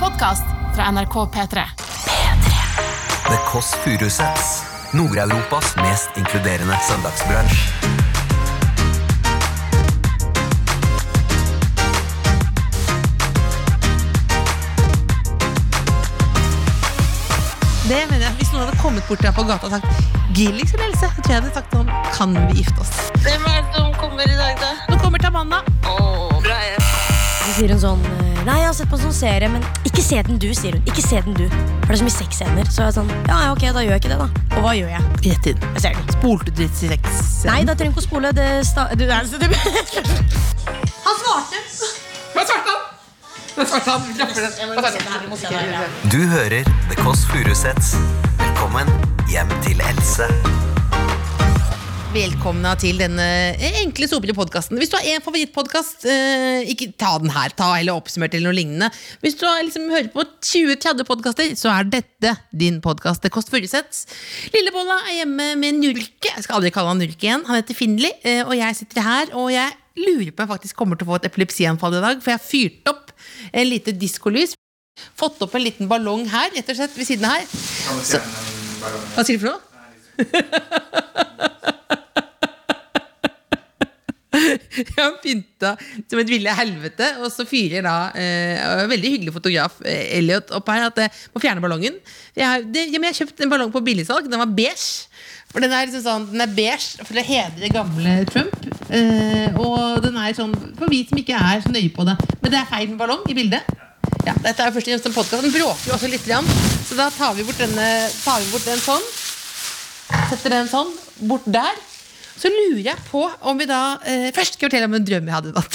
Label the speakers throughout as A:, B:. A: podkast fra NRK P3.
B: The Kåss Furuseths. Nord-Europas mest inkluderende søndagsbransj.
C: Det mener jeg. Hvis noen hadde kommet bort til meg på gata og sagt Gilly sin Else, så tror jeg jeg hadde sagt sånn Kan vi gifte oss?
D: Hvem er det som kommer i dag, da?
C: Nå kommer Tamanna.
D: Åh, bra, jeg.
E: Så sier hun sånn eh, Nei, jeg har sett på en sånn serie, men ikke se den du, sier hun. Ikke se den du. For det er så mye sexscener. Så jeg er sånn Ja, ja, ok, da gjør jeg ikke det, da. Og hva gjør jeg?
C: Rett inn.
E: Jeg ser den.
C: Spolte du dritt i sex?
E: Nei, da trenger jeg ikke å spole. Det sta du, er det,
B: Du hører The Kåss Furuseths. Velkommen hjem til Else.
C: Velkomna til denne enkle, sopete podkasten. Hvis du har en favorittpodkast, eh, ikke ta den her. Ta heller oppsummert eller noe lignende. Hvis du har liksom hører på 20-30 podkaster, så er dette din podkast. Det koster Furuseths. Lillebolla er hjemme med Nurke. Jeg skal aldri kalle han Nurke igjen. Han heter Finli. eh, Og jeg sitter her, og jeg lurer på om jeg faktisk kommer til å få et epilepsianfall i dag, for jeg har fyrt opp et lite diskolys. Fått opp en liten ballong her, rett og slett, ved siden av her. Så- Hva sier du for noe? Jeg har pynta som et ville helvete, og så fyrer da eh, og en veldig hyggelig fotograf eh, Elliot opp her at jeg må fjerne ballongen. Jeg har, det, ja, men jeg har kjøpt en ballong på billigsalg. Den var beige. For den er liksom sånn, den er beige for å hedre gamle Trump. Eh, og den er sånn for vi som ikke er så nøye på det. Men det er feil med ballong i bildet. Ja, dette er jo først og fremst en podcast. Den bråker jo også litt, grann. så da tar vi bort, denne, tar vi bort den sånn. Setter den sånn, bort der Så lurer jeg på om vi da eh, Først skal jeg fortelle om en drøm jeg hadde i natt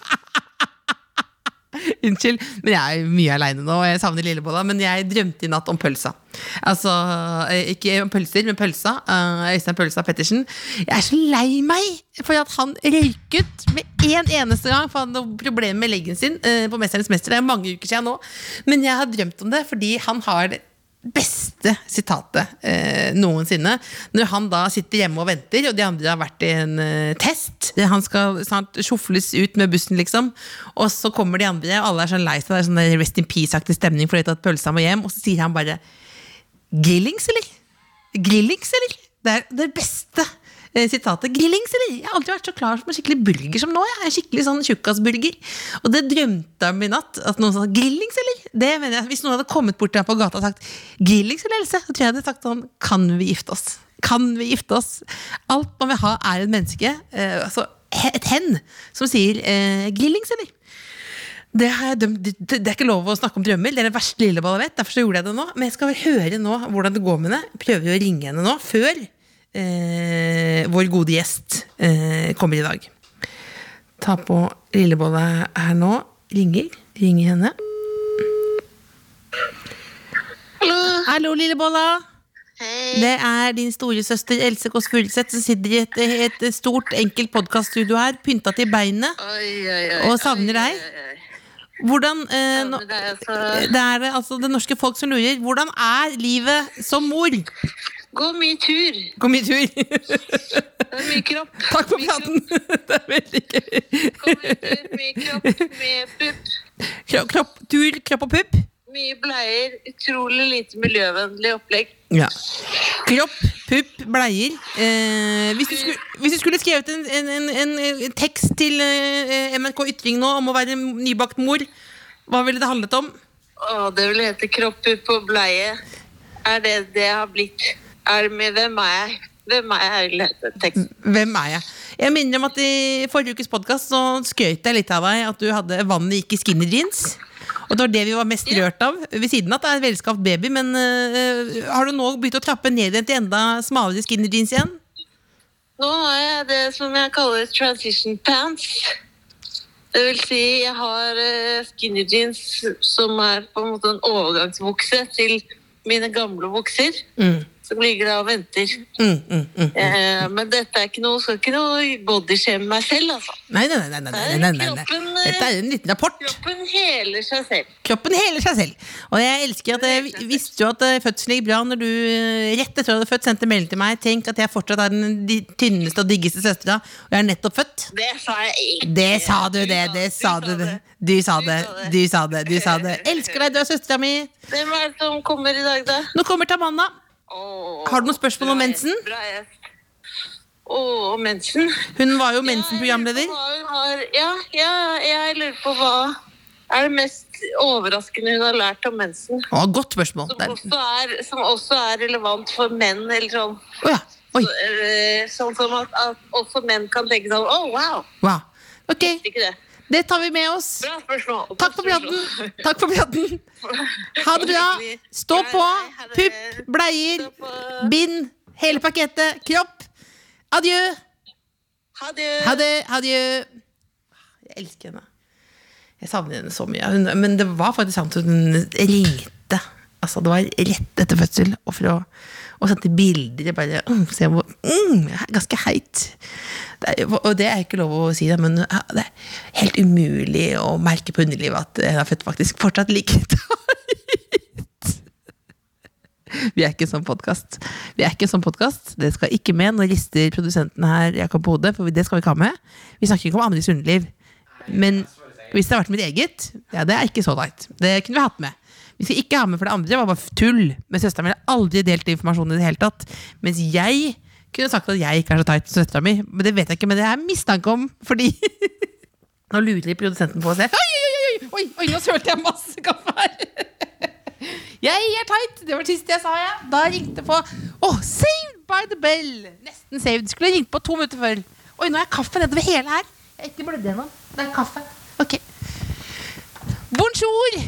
C: Unnskyld, men jeg er mye alene nå Og jeg savner lillebolla, men jeg drømte i natt om pølsa Altså, eh, ikke om pølser, men pølsa eh, Øystein Pølsa Pettersen Jeg er så lei meg For at han røyket med en eneste gang For han hadde noen problemer med leggen sin eh, På Mesterens Mester, det er mange uker siden nå Men jeg har drømt om det, fordi han har det beste sitatet eh, noensinne. Når han da sitter hjemme og venter, og de andre har vært i en eh, test. Han skal snart sjofles ut med bussen, liksom. Og så kommer de andre, og alle er sånn lei seg. Det er sånn rest in peace-aktig stemning, for de har tatt pølsa med hjem. Og så sier han bare Grillings, eller? Grillings, eller? Det er det beste eh, sitatet. Grillings, eller? Jeg har aldri vært så klar for en skikkelig burger som nå. Jeg er en skikkelig sånn tjukkasburger. Og det drømte jeg om i natt. At noen sa grillings, eller? Det mener jeg. Hvis noen hadde kommet bort til meg på gata og sagt grillings eller Else, så tror jeg jeg hadde sagt sånn Kan vi gifte oss? Kan vi gifte oss? Alt man vil ha, er et menneske. Eh, altså he- et hen som sier eh, grillings, eller? Det, har jeg dømt, det, det er ikke lov å snakke om drømmer. Det er det verste lilleball jeg vet. Derfor så gjorde jeg det nå. Men jeg skal høre nå hvordan det går med henne. Prøver å ringe henne nå, før eh, vår gode gjest eh, kommer i dag. Ta på lillebolla her nå. Ringer. Ringer henne. Hallo, lillebolla. Det er din storesøster Else Kåss Furuseth som sitter i et, et stort, enkelt podkaststudio her, pynta til beinet.
D: Oi, oi, oi.
C: Og savner deg? Hvordan eh, nå,
D: Men det er så...
C: Det er det, altså det norske folk som lurer. Hvordan er livet som mor?
D: Gå mye tur.
C: Gå mye tur.
D: Det er mye kropp.
C: Takk for
D: Mye
C: praten. Det er veldig gøy.
D: kropp, Gå mye tur, mye kropp, mye pupp,
C: Kro- Kropp, tur, kropp og pupp.
D: mye bleier. Utrolig lite miljøvennlig opplegg.
C: Ja. Kropp, pupp, bleier. Eh, hvis, du skulle, hvis du skulle skrevet en, en, en, en en tekst til eh, MNK Ytring nå om å være nybakt mor, hva ville det handlet om?
D: Å, det vil hete kropp, pupp og bleie. Er det det jeg har blitt? Er det med hvem er jeg? Hvem er jeg? vil hete teksten.
C: Hvem er jeg? Jeg minner om at i forrige ukes podkast skrøt jeg litt av deg at du hadde vannet gikk i skinny jeans. Og det var det vi var mest rørt av. Ved siden av at det er en velskapt baby, men øh, har du nå begynt å trappe ned igjen til enda smalere skinny jeans igjen?
D: Nå har jeg det som jeg kaller transition pants. Det vil si, jeg har eh, skinny jeans
C: Mm.
D: som er på en måte en overgangsbukse til mine gamle bukser. som ligger der og venter. Eh, men dette er ikke noe, skal ikke noe bodyshame meg selv, altså.
C: Nei, nei, nei. nei, nei, nei, nei, nei.
D: Kroppen, eh,
C: Dette er en liten rapport.
D: Kroppen heler seg selv.
C: Kroppen heler seg selv. Og jeg elsker at jeg visste jo at eh, fødsel gikk bra når du eh, rett etter at du hadde født, sendte melding til meg. Tenk at jeg fortsatt er den di- tynneste og diggeste søstera, og jeg er nettopp født.
D: Det sa jeg ikke.
C: Det sa du, det. Det sa du. det. Du sa det. Du sa det. Du sa det. Elsker deg, du er søstera mi.
D: Hvem er det som kommer i dag, da?
C: Nå kommer Tamanna.
D: Åh,
C: Har du noen spørsmål om
D: bra
C: mensen?
D: gjest, Bra gjest. Åh, om mensen?
C: Hun var jo
D: Jeg
C: Mensen-programleder.
D: lurer på hva hun har- Ja, ja, jeg lurer på hva er det mest overraskende hun har lært om mensen?
C: Å, godt spørsmål.
D: Som
C: Der.
D: også er, som også er relevant for menn, eller sånn.
C: Å ja. Oi.
D: Eh, Sånn som at, at også menn kan tenke sånn Å, wow!
C: Wow. Ok,
D: Ikke det.
C: det tar vi med oss.
D: Bra spørsmål.
C: Takk for praten. Takk for praten. Ha det bra. Stå på. Pupp, bleier, bind, hele pakettet, kropp. Adjø.
D: Ha det.
C: Ha det. Adjø. Jeg elsker henne. Jeg savner henne så mye. Hun, men det var faktisk sant at hun ringte. Altså, det var rett etter fødsel og, fra, og sendte bilder. Jeg bare, mm, se hvor, mm, jeg er ganske heit. Det er, og det er ikke lov å si, det, men ja, det er helt umulig å merke på underlivet at en er født faktisk fortsatt like tight. Vi er ikke en sånn podkast. Vi er ikke en sånn podcast. Det skal ikke med. Nå rister produsenten her Jakob på hodet, for det skal vi ikke ha med. Vi snakker ikke om andres underliv. Men hvis det har vært mitt eget, ja, det er ikke så tight. Det kunne vi hatt med. Vi skal ikke ha med for det andre, det var bare tull. Men søsteren min har aldri delt informasjon i det hele tatt. Mens jeg kunne sagt at jeg ikke er så tight som søstera mi. Men det vet jeg ikke, men det er mistanke om, fordi Nå lurer produsenten på å se. Oi, oi, oi, oi, oi, oi, nå sølte jeg masse kaffe her. Jeg er tight! Det var det siste jeg sa, ja. Da ringte på Åh, Saved by the bell! Nesten saved. Skulle ringt på to minutter før. Oi, nå er kaffe nedover hele her. Jeg har ikke blødd gjennom. Det er kaffe. Ok. Bonjour!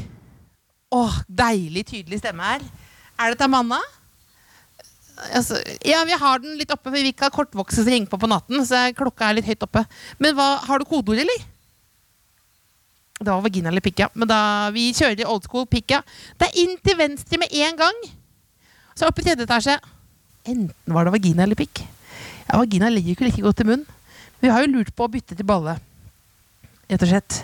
C: Åh, deilig tydelig stemme her. Er det Tamanna? Altså, ja, vi har den litt oppe, for vi ikke har kortvokste som ringer på på natten. Så klokka er litt høyt oppe. Men hva, har du kodeord, eller? Det var vagina eller pikk, ja. Men da, vi kjører old school pikk, ja. Det er inn til venstre med en gang. Så opp i tredje etasje. Enten var det vagina eller pikk. Ja, vagina ligger jo ikke like godt i munnen. Men vi har jo lurt på å bytte til balle. Rett og slett.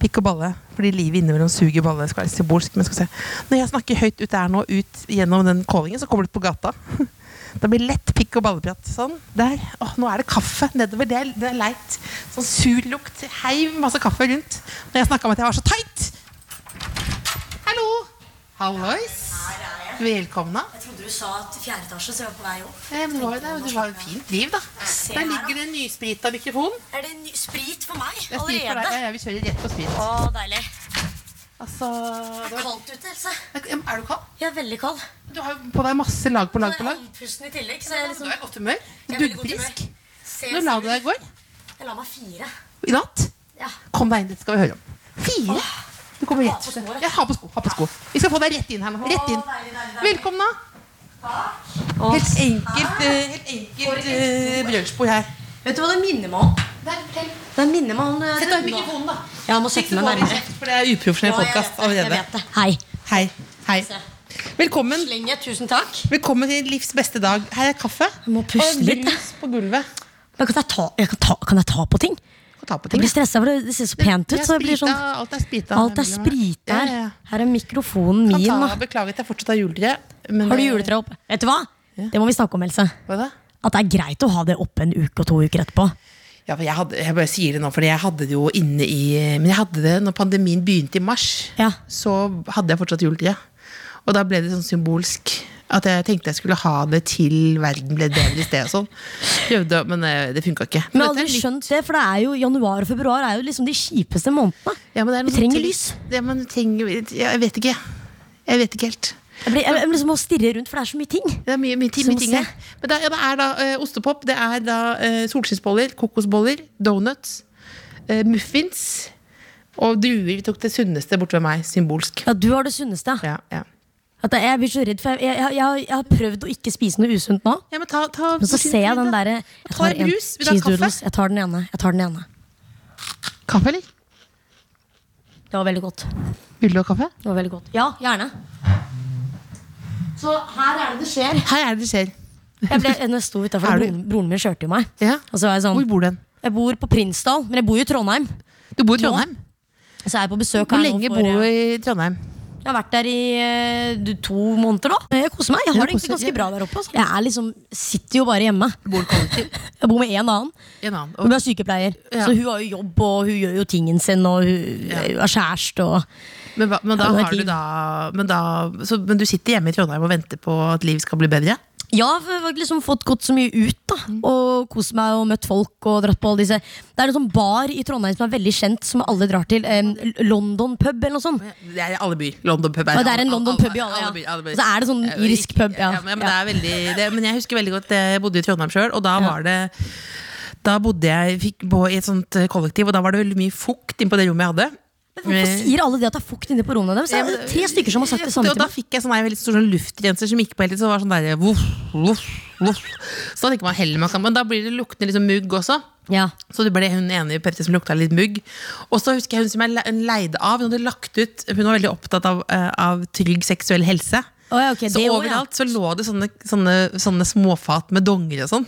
C: Pikk og balle. Fordi livet innimellom suger balle. Skal være symbolsk, men skal se. Når jeg snakker høyt ut der nå, ut gjennom den callingen, så kommer du på gata. Da blir det lett pikk og balleprat. Sånn. Der. Åh, nå er det kaffe nedover. Det er, det er leit. Sånn sur lukt. Heiv masse kaffe rundt. Når jeg snakka om at jeg var så tight. Hallo. Hallois. Velkomna.
E: Jeg trodde du sa at fjerde etasje, så jeg var på vei opp.
C: Eh, men Du var jo der, og du var jo fint driv, da.
E: Se
C: Der
E: her,
C: ligger det en nysprita mikrofon.
E: Er det ny sprit for meg
C: Det er sprit for deg.
E: allerede?
C: Ja, ja, vi kjører rett på sprit.
E: Å, deilig.
C: Altså,
E: Det
C: det
E: er
C: var...
E: kaldt ute, Else.
C: Er du kald?
E: Jeg er veldig kald.
C: Du har jo på deg masse lag på
E: Og
C: lag
E: det
C: på
E: er
C: lag.
E: andpusten i tillegg, så jeg er
C: Du
E: liksom
C: er i godt humør. Du er
E: Jeg er veldig godt humør.
C: duggfrisk.
E: ser-
C: Når la du deg i går?
E: Jeg la meg fire.
C: I natt?
E: Ja.
C: Kom deg inn, dette skal vi høre om. Fire? Du kommer
E: Ha
C: rett
E: på
C: til
E: skoene.
C: ja, Ha på sko. Ha på sko. Vi skal få deg rett inn her nå. Rett inn.
E: Å, deilig, deilig, Ah. deilig.
C: Velkommen, da. Helt enkelt, eh, helt enkelt eh, brunsjbord her.
E: Vet du hva det minner meg om? Det minner meg om eh,
C: Sett deg
E: det-
C: i mikrofonen, da.
E: Jeg må
C: Ikke
E: sette
C: så
E: meg
C: får vi
E: nærmere.
C: kjeft, for det er uprofesjonell
E: Ja, jeg
C: podcast
E: vet det, jeg
C: allerede.
E: vet det. Hei.
C: Hei. Hei.
E: Se.
C: Velkommen.
E: Lenge, tusen takk.
C: Velkommen til livs beste dag. Her er kaffe.
E: Jeg må puste
C: og
E: litt, da.
C: brus på gulvet.
E: Men kan jeg ta, jeg kan ta, kan jeg ta på ting?
C: Og ta på
E: Jeg
C: ting.
E: blir stressa, for det- det ser så pent ut.
C: Det er
E: Så jeg blir
C: sprita,
E: sånn,
C: Alt er sprita.
E: alt er sprit
C: Ja,
E: her.
C: ja, ja.
E: Her er mikrofonen
C: Kan
E: min.
C: ta-
E: da.
C: Beklager at jeg fortsatt har juletre. men-
E: Har du juletre oppe? Vet du hva? Det må vi snakke om, Else.
C: Hva da?
E: At det er greit å ha det oppe en uke og to uker etterpå.
C: Ja, for jeg, hadde, jeg bare sier det nå, fordi jeg hadde det jo inne i Men jeg hadde det når pandemien begynte i mars.
E: Ja.
C: Så hadde jeg fortsatt juletida. Og da ble det sånn symbolsk. At jeg tenkte jeg skulle ha det til verden ble et bedre sted og sånn. Prøvde, men eh, det funka ikke.
E: Men jeg har
C: dette er
E: aldri
C: nytt.
E: skjønt det, for det er jo januar og februar er jo liksom de kjipeste månedene.
C: Ja, men det er noe
E: vi
C: sånn
E: trenger
C: til-
E: lys.
C: Ja, men vi trenger, ja, jeg vet ikke. Jeg vet ikke helt.
E: Jeg, blir, jeg, jeg liksom må stirre rundt, for det er så mye ting.
C: Det er mye, mye, ting-
E: Så
C: mye
E: må
C: ting
E: se.
C: her. Men det, er- ja, det er da eh, ostepop, det er da eh, solskinnsboller, kokosboller, donuts, eh, muffins og druer. Vi tok det sunneste bort ved meg, symbolsk.
E: Ja, du har det sunneste.
C: Ja, ja.
E: At jeg- jeg blir så redd, for jeg, jeg, jeg, har- jeg har prøvd å ikke spise noe usunt nå.
C: ja men ta, ta
E: Men så ser jeg den derre Jeg
C: Ta
E: tar en
C: brus, vil du ha
E: cheese
C: kaffe?
E: doodles. Jeg tar den ene. Jeg tar den ene.
C: Kaffe, eller?
E: Det var veldig godt.
C: Vil du ha kaffe?
E: Det var veldig godt. Ja, gjerne. Så her er det det skjer.
C: Her er det det skjer.
E: Jeg ble, når jeg sto utenfor,
C: Er du-
E: broren, broren min kjørte jo meg.
C: Ja.
E: Og så var jeg sånn
C: Hvor bor du hen?
E: Jeg bor på Prinsdal, men jeg bor jo i Trondheim.
C: Du bor i Trondheim.
E: Så jeg er på besøk
C: Hvor
E: her nå
C: lenge
E: for,
C: bor du
E: eh,
C: i Trondheim?
E: Jeg har vært der i eh, du, to måneder nå. Jeg koser meg. Jeg
C: Ja,
E: har det egentlig
C: koser-
E: ganske bra der oppe. Altså. Jeg er liksom, sitter jo bare hjemme.
C: Bor kollektiv?
E: Jeg bor med en annen.
C: En annen.
E: Hun er sykepleier,
C: Ja.
E: så hun har jo jobb og hun gjør jo tingen sin. Og hun hun har kjæreste og
C: Men, hva- men da
E: Ja, det er
C: har du
E: tid.
C: da Men, da så, men du sitter hjemme i Trondheim og venter på at liv skal bli bedre?
E: Ja, for jeg har liksom fått gått så mye ut da Og kost meg og møtt folk og dratt på alle disse Det er en sånn bar i Trondheim som er veldig kjent Som alle drar til eh, London pub eller noe sånt
C: Det er i alle byer. London pub er,
E: Og det er en London pub i alle, ja.
C: byer, alle byer.
E: Og så er det sånn
C: Eh,
E: irisk
C: ikke-
E: pub, ja.
C: men,
E: Ja.
C: Det er veldig, det, men jeg husker veldig godt eh, Jeg bodde i Trondheim sjøl, og da var det Da bodde jeg fikk bo i et sånt eh, kollektiv, og da var det veldig mye fukt inne på det rommet jeg hadde. Eh,
E: Men hvorfor sier alle det at det er fukt inne på rommet deres? Det
C: Ja,
E: er
C: men-
E: det tre stykker som har sagt det
C: Ja,
E: samme
C: Og
E: til
C: da
E: meg
C: fikk jeg sånn der veldig stor sånn luftrenser som gikk på hele tiden. Så det var sånn der, voff, voff, voff. Så da tenker man heller man kan Men da blir det luktende liksom mugg også.
E: ja.
C: Så det ble hun ene i Pepsi som lukta litt mugg. Og så husker jeg hun som jeg le- leide av. Hun hadde lagt ut Hun var veldig opptatt av, eh, av trygg seksuell helse.
E: Å ja, ok,
C: så
E: det også, ja.
C: overalt så lå det sånne, sånne, sånne småfat med donger og sånn.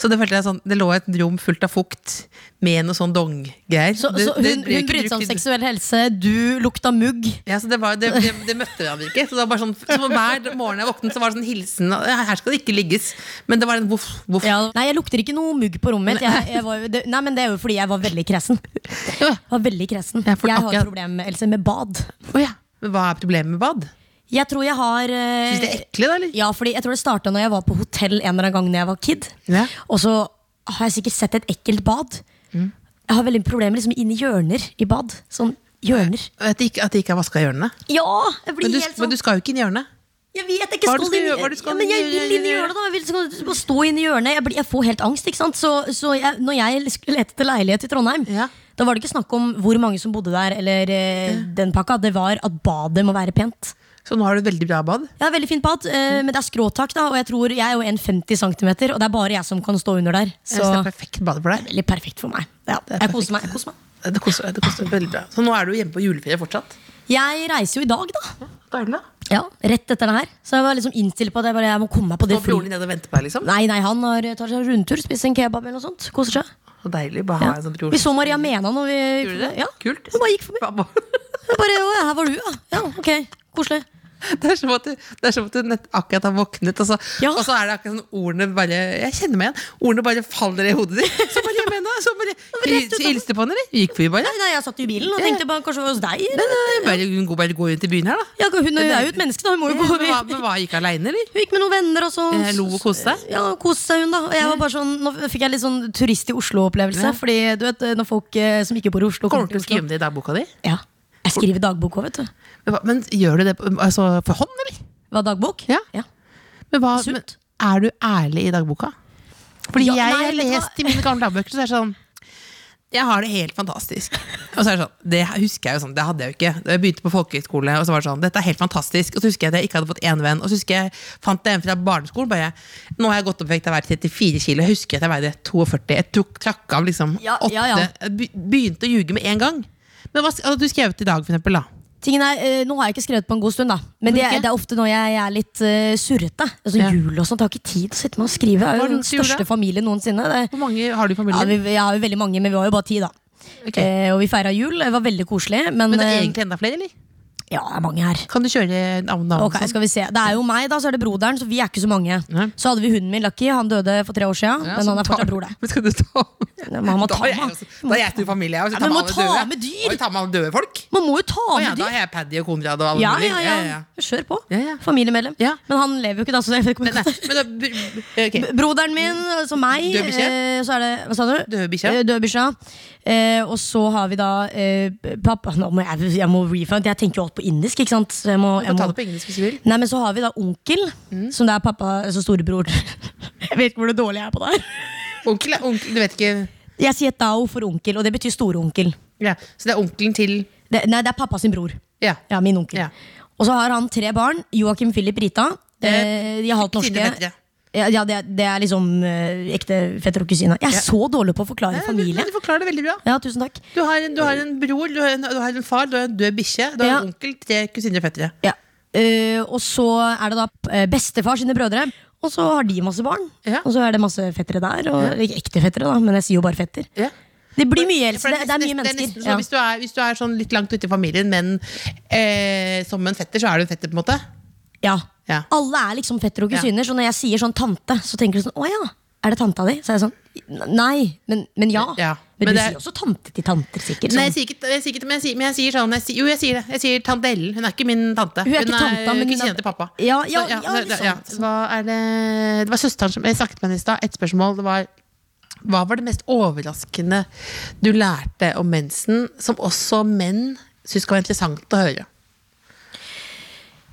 C: Så det følte jeg sånn Det lå et rom fullt av fukt med noe sånn donggreier.
E: Så,
C: Det-
E: så hun,
C: det
E: hun
C: ble ikke
E: brydde seg
C: brukt
E: om
C: i-
E: seksuell helse Du lukta mugg
C: ja, så det, var, det, det, det møtte hverandre ikke. Så det var bare sånn, så hver morgen jeg våknet, så var det sånn hilsen ja, Her skal det ikke ligges. Men det var en voff, voff.
E: ja. Nei, jeg lukter ikke noe mugg på rommet mitt jeg, jeg var, jo- det, Nei, men det er jo fordi jeg var veldig kresen Jeg
C: Ja.
E: var veldig kresen
C: Ja, for
E: Jeg har
C: akkurat-
E: et problem Else, med bad
C: Å ja. Men hva er problemet med bad?
E: Jeg tror jeg har eh,
C: Syns det er ekle, da? eller?
E: Ja, fordi jeg tror det starta når jeg var på hotell en eller annen gang Når jeg var kid.
C: Ja.
E: Og så har jeg sikkert sett et ekkelt bad.
C: Mm.
E: Jeg har veldig problemer liksom inni hjørner i bad. Sånn hjørner.
C: At de ikke, at de ikke har vaska hjørnene?
E: Ja! Jeg blir
C: Men du,
E: helt sånn
C: men du skal jo ikke inn i hjørnet.
E: Jeg vet jeg ikke
C: Hva er det du
E: skal
C: skal
E: inn i-
C: gjøre? Hva er det du skal
E: ja, Men jeg
C: gjøre?
E: vil inn i hjørnet, da. Jeg vil skal, skal stå inn i hjørnet. Jeg, blir, jeg får helt angst, ikke sant. Så, så jeg, når jeg skulle lete etter leilighet i Trondheim,
C: Ja.
E: da var det ikke snakk om hvor mange som bodde der, eller eh, den pakka. Det var at badet må være pent.
C: Så nå har du et veldig bra bad.
E: Ja, veldig fint bad,
C: Mm.
E: eh, men det er skråtak, da, og jeg tror jeg er jo 1,50 cm, og det er bare jeg som kan stå under der.
C: Så
E: Så
C: det er perfekt bade for deg.
E: veldig perfekt for meg. Ja,
C: er
E: jeg
C: perfekt.
E: koser meg. Jeg koser meg
C: Det koster, det koster veldig bra. Så nå er du hjemme på juleferie fortsatt?
E: Jeg reiser jo i dag, da.
C: Deilig, da.
E: Ja, Rett etter det her. Så jeg var liksom innstilt på at jeg, bare, jeg må komme meg på det
C: Nå bor
E: flyet.
C: de nede og venter på deg, liksom?
E: Nei, nei, han har, eh, tar seg en rundtur, spiser en kebab eller noe sånt. Koser seg.
C: Så deilig. Bare
E: Ja.
C: ha en sånn bror.
E: Vi så Maria Mena når vi
C: Gjorde dere det?
E: Ja,
C: Kult.
E: Hun bare gikk forbi.
C: Hva-
E: Jeg Bare, å, ja, her var du, ja. ja ok, koselig.
C: Det er som at du, det er som at du nett, akkurat har våknet, og så,
E: Ja.
C: og så er det akkurat sånn ordene bare Jeg kjenner meg igjen. Ordene bare faller i hodet ditt. Så bare hjem igjen, da. Så bare
E: rett ut av-
C: Hilste du på henne, eller? Gikk forbi, bare?
E: Nei, nei, jeg satt jo i bilen og
C: Ja.
E: tenkte bare, kanskje det var hos deg.
C: Nei,
E: Eller?
C: nei, bare, hun går bare går rundt i byen her, da.
E: Ja, hun er jo et menneske, da. Hun må jo gå
C: Men hva, men hva gikk aleine, eller?
E: Hun gikk med noen venner og så
C: Eh, lo og koste seg?
E: Ja, koste seg hun da Og jeg var bare sånn, Nå fikk jeg litt sånn turist i Oslo-opplevelse
C: Ja.
E: Fordi du vet, når folk eh, som ikke bor i Oslo
C: Kommer du til å
E: Oslo
C: skrive om det i dagboka di?
E: Ja, jeg skriver dagbok også, vet du
C: Men, hva- men gjør du det på- altså, for hånd, eller?
E: Hva dagbok?
C: Ja. Men, hva, men
E: Sunt.
C: er du ærlig i dagboka? Fordi
E: Ja,
C: jeg
E: nei,
C: har
E: vet du
C: lest
E: hva?
C: i mine gamle dagbøker, så er det sånn Jeg har det helt fantastisk. Og så er det sånn, det husker jeg jo sånn, det hadde jeg jo ikke. Da jeg begynte på folkehøyskole, og så var det sånn, dette er helt fantastisk. Og så husker jeg at jeg ikke hadde fått én venn. Og så husker jeg, fant jeg en fra barneskolen, bare Nå har jeg gått opp i vekt, jeg har vært 34 kilo. Jeg husker at jeg veide 42. Jeg tok, trakk av liksom
E: Ja,
C: åtte.
E: ja, ja.
C: Jeg be- Begynte å ljuge med en gang. Men hva s- hadde du skrevet i dag, for eksempel, da?
E: Tingen er, eh, nå har jeg ikke skrevet på en god stund da Men det,
C: Hvorfor ikke?
E: er- det er ofte når jeg, jeg er litt eh, surrete Altså
C: Ja.
E: jul og sånt, jeg har ikke tid til å sitte med og skrive Jeg
C: Hva har
E: er jo
C: du
E: den
C: gjort i jula?
E: største familien noensinne det,
C: Hvor mange har du i
E: ja,
C: familien?
E: vi, Jeg har jo veldig mange, men vi var jo bare ti da
C: Ok.
E: eh, Og vi feiret jul, det var veldig koselig Men,
C: Men det er
E: eh,
C: egentlig enda flere, eller?
E: ja, det er mange her
C: Kan du kjøre navn navn?
E: Ok,
C: sånn?
E: skal vi se Det er jo meg, da, så er det broderen, så vi er ikke så mange.
C: Nei.
E: Så hadde vi hunden min, Lucky. Han døde for tre år siden.
C: Ja,
E: men
C: så
E: han er
C: tar-
E: fortsatt bror, det.
C: Men skal du ta
E: Ja, men han må
C: Da
E: ta
C: er jeg
E: med-
C: også- Da er jeg stor familie, jeg. og så
E: Ja,
C: tar
E: men
C: man
E: må
C: alle
E: ta
C: døde.
E: med dyr.
C: Og vi tar med alle døde folk.
E: Man må jo ta
C: Å ja,
E: med
C: da
E: dyr!
C: har jeg Paddy og Konrad og alle
E: Ja,
C: mulige.
E: ja, ja, Kjør på.
C: Ja, ja.
E: Familiemedlem.
C: Ja.
E: Men han lever jo ikke, da. Så jeg vet ikke om
C: Men,
E: jeg
C: nei,
E: kan-
C: men da, b- b- ok.
E: B- Broderen min, så meg.
C: Død bikkje?
E: eh, Så er det, hva sa du?
C: Død bikkje.
E: Eh, Død bikkje. Eh, og så har vi da eh, pappa Nå må jeg, jeg må refund. Jeg tenker jo alt på indisk, ikke sant? Så jeg må,
C: Du
E: jeg
C: kan ta det
E: må,
C: på engelsk hvis du vil. Mm.
E: Nei, men så har vi da onkel, som det er pappa, altså storebror. jeg vet ikke hvor det dårlige er på det her.
C: Onkel er onkel, du vet ikke
E: Jeg sier dao for onkel, og det betyr store onkel.
C: ja. Så det er onkelen til
E: Det, nei, det er pappa sin bror.
C: Ja.
E: Ja, min onkel.
C: Ja.
E: Og så har han tre barn. Joakim Philip Rita. Eh, de er halvt
C: kusine
E: norske.
C: fettere.
E: Ja, ja, det, er- det er liksom eh, ekte fetter og kusine. Jeg er så dårlig på å forklare
C: Ja,
E: familie.
C: Du, du forklarer det veldig bra.
E: Ja, tusen takk.
C: Du har en, du har en bror, du har en, du har en far, du har en død bikkje, du har
E: Ja.
C: en onkel, tre kusiner og fettere.
E: Ja. Eh, og så er det da eh, bestefar sine brødre. Og så har de masse barn.
C: Ja.
E: Og så er det masse fettere der. Og, Ikke ekte fettere, da, men jeg sier jo bare fetter.
C: Ja.
E: Det blir mye helse.
C: For
E: Det, det er
C: nesten-
E: mye
C: nesten
E: mennesker.
C: sånn, hvis, du er, hvis du er sånn litt langt ute i familien, men eh, som en fetter, så er du en fetter, på en måte.
E: Ja.
C: Ja.
E: ja. Alle er liksom fettere og
C: Ja.
E: kusiner. Så når jeg sier sånn tante, så tenker du sånn Å ja, er det tanta di? Så er jeg sånn Nei, men, men ja.
C: Ja,
E: Men,
C: men
E: du
C: det er-
E: sier også tante til tanter, sikkert.
C: Nei, jeg
E: Sånn.
C: sier ikke, jeg sier ikke men, jeg sier, men jeg sier sånn jeg sier, Jo, jeg sier det. Jeg sier tante Ellen. Hun er ikke min tante.
E: Hun er ikke tanta, men hun er-
C: kusina til pappa.
E: Ja, ja,
C: så,
E: ja,
C: så-
E: liksom.
C: Hva er det Det var søsteren som Jeg snakket med henne i stad. Et spørsmål. Det var Hva var det mest overraskende du lærte om mensen, som også menn syns kan være interessant å høre?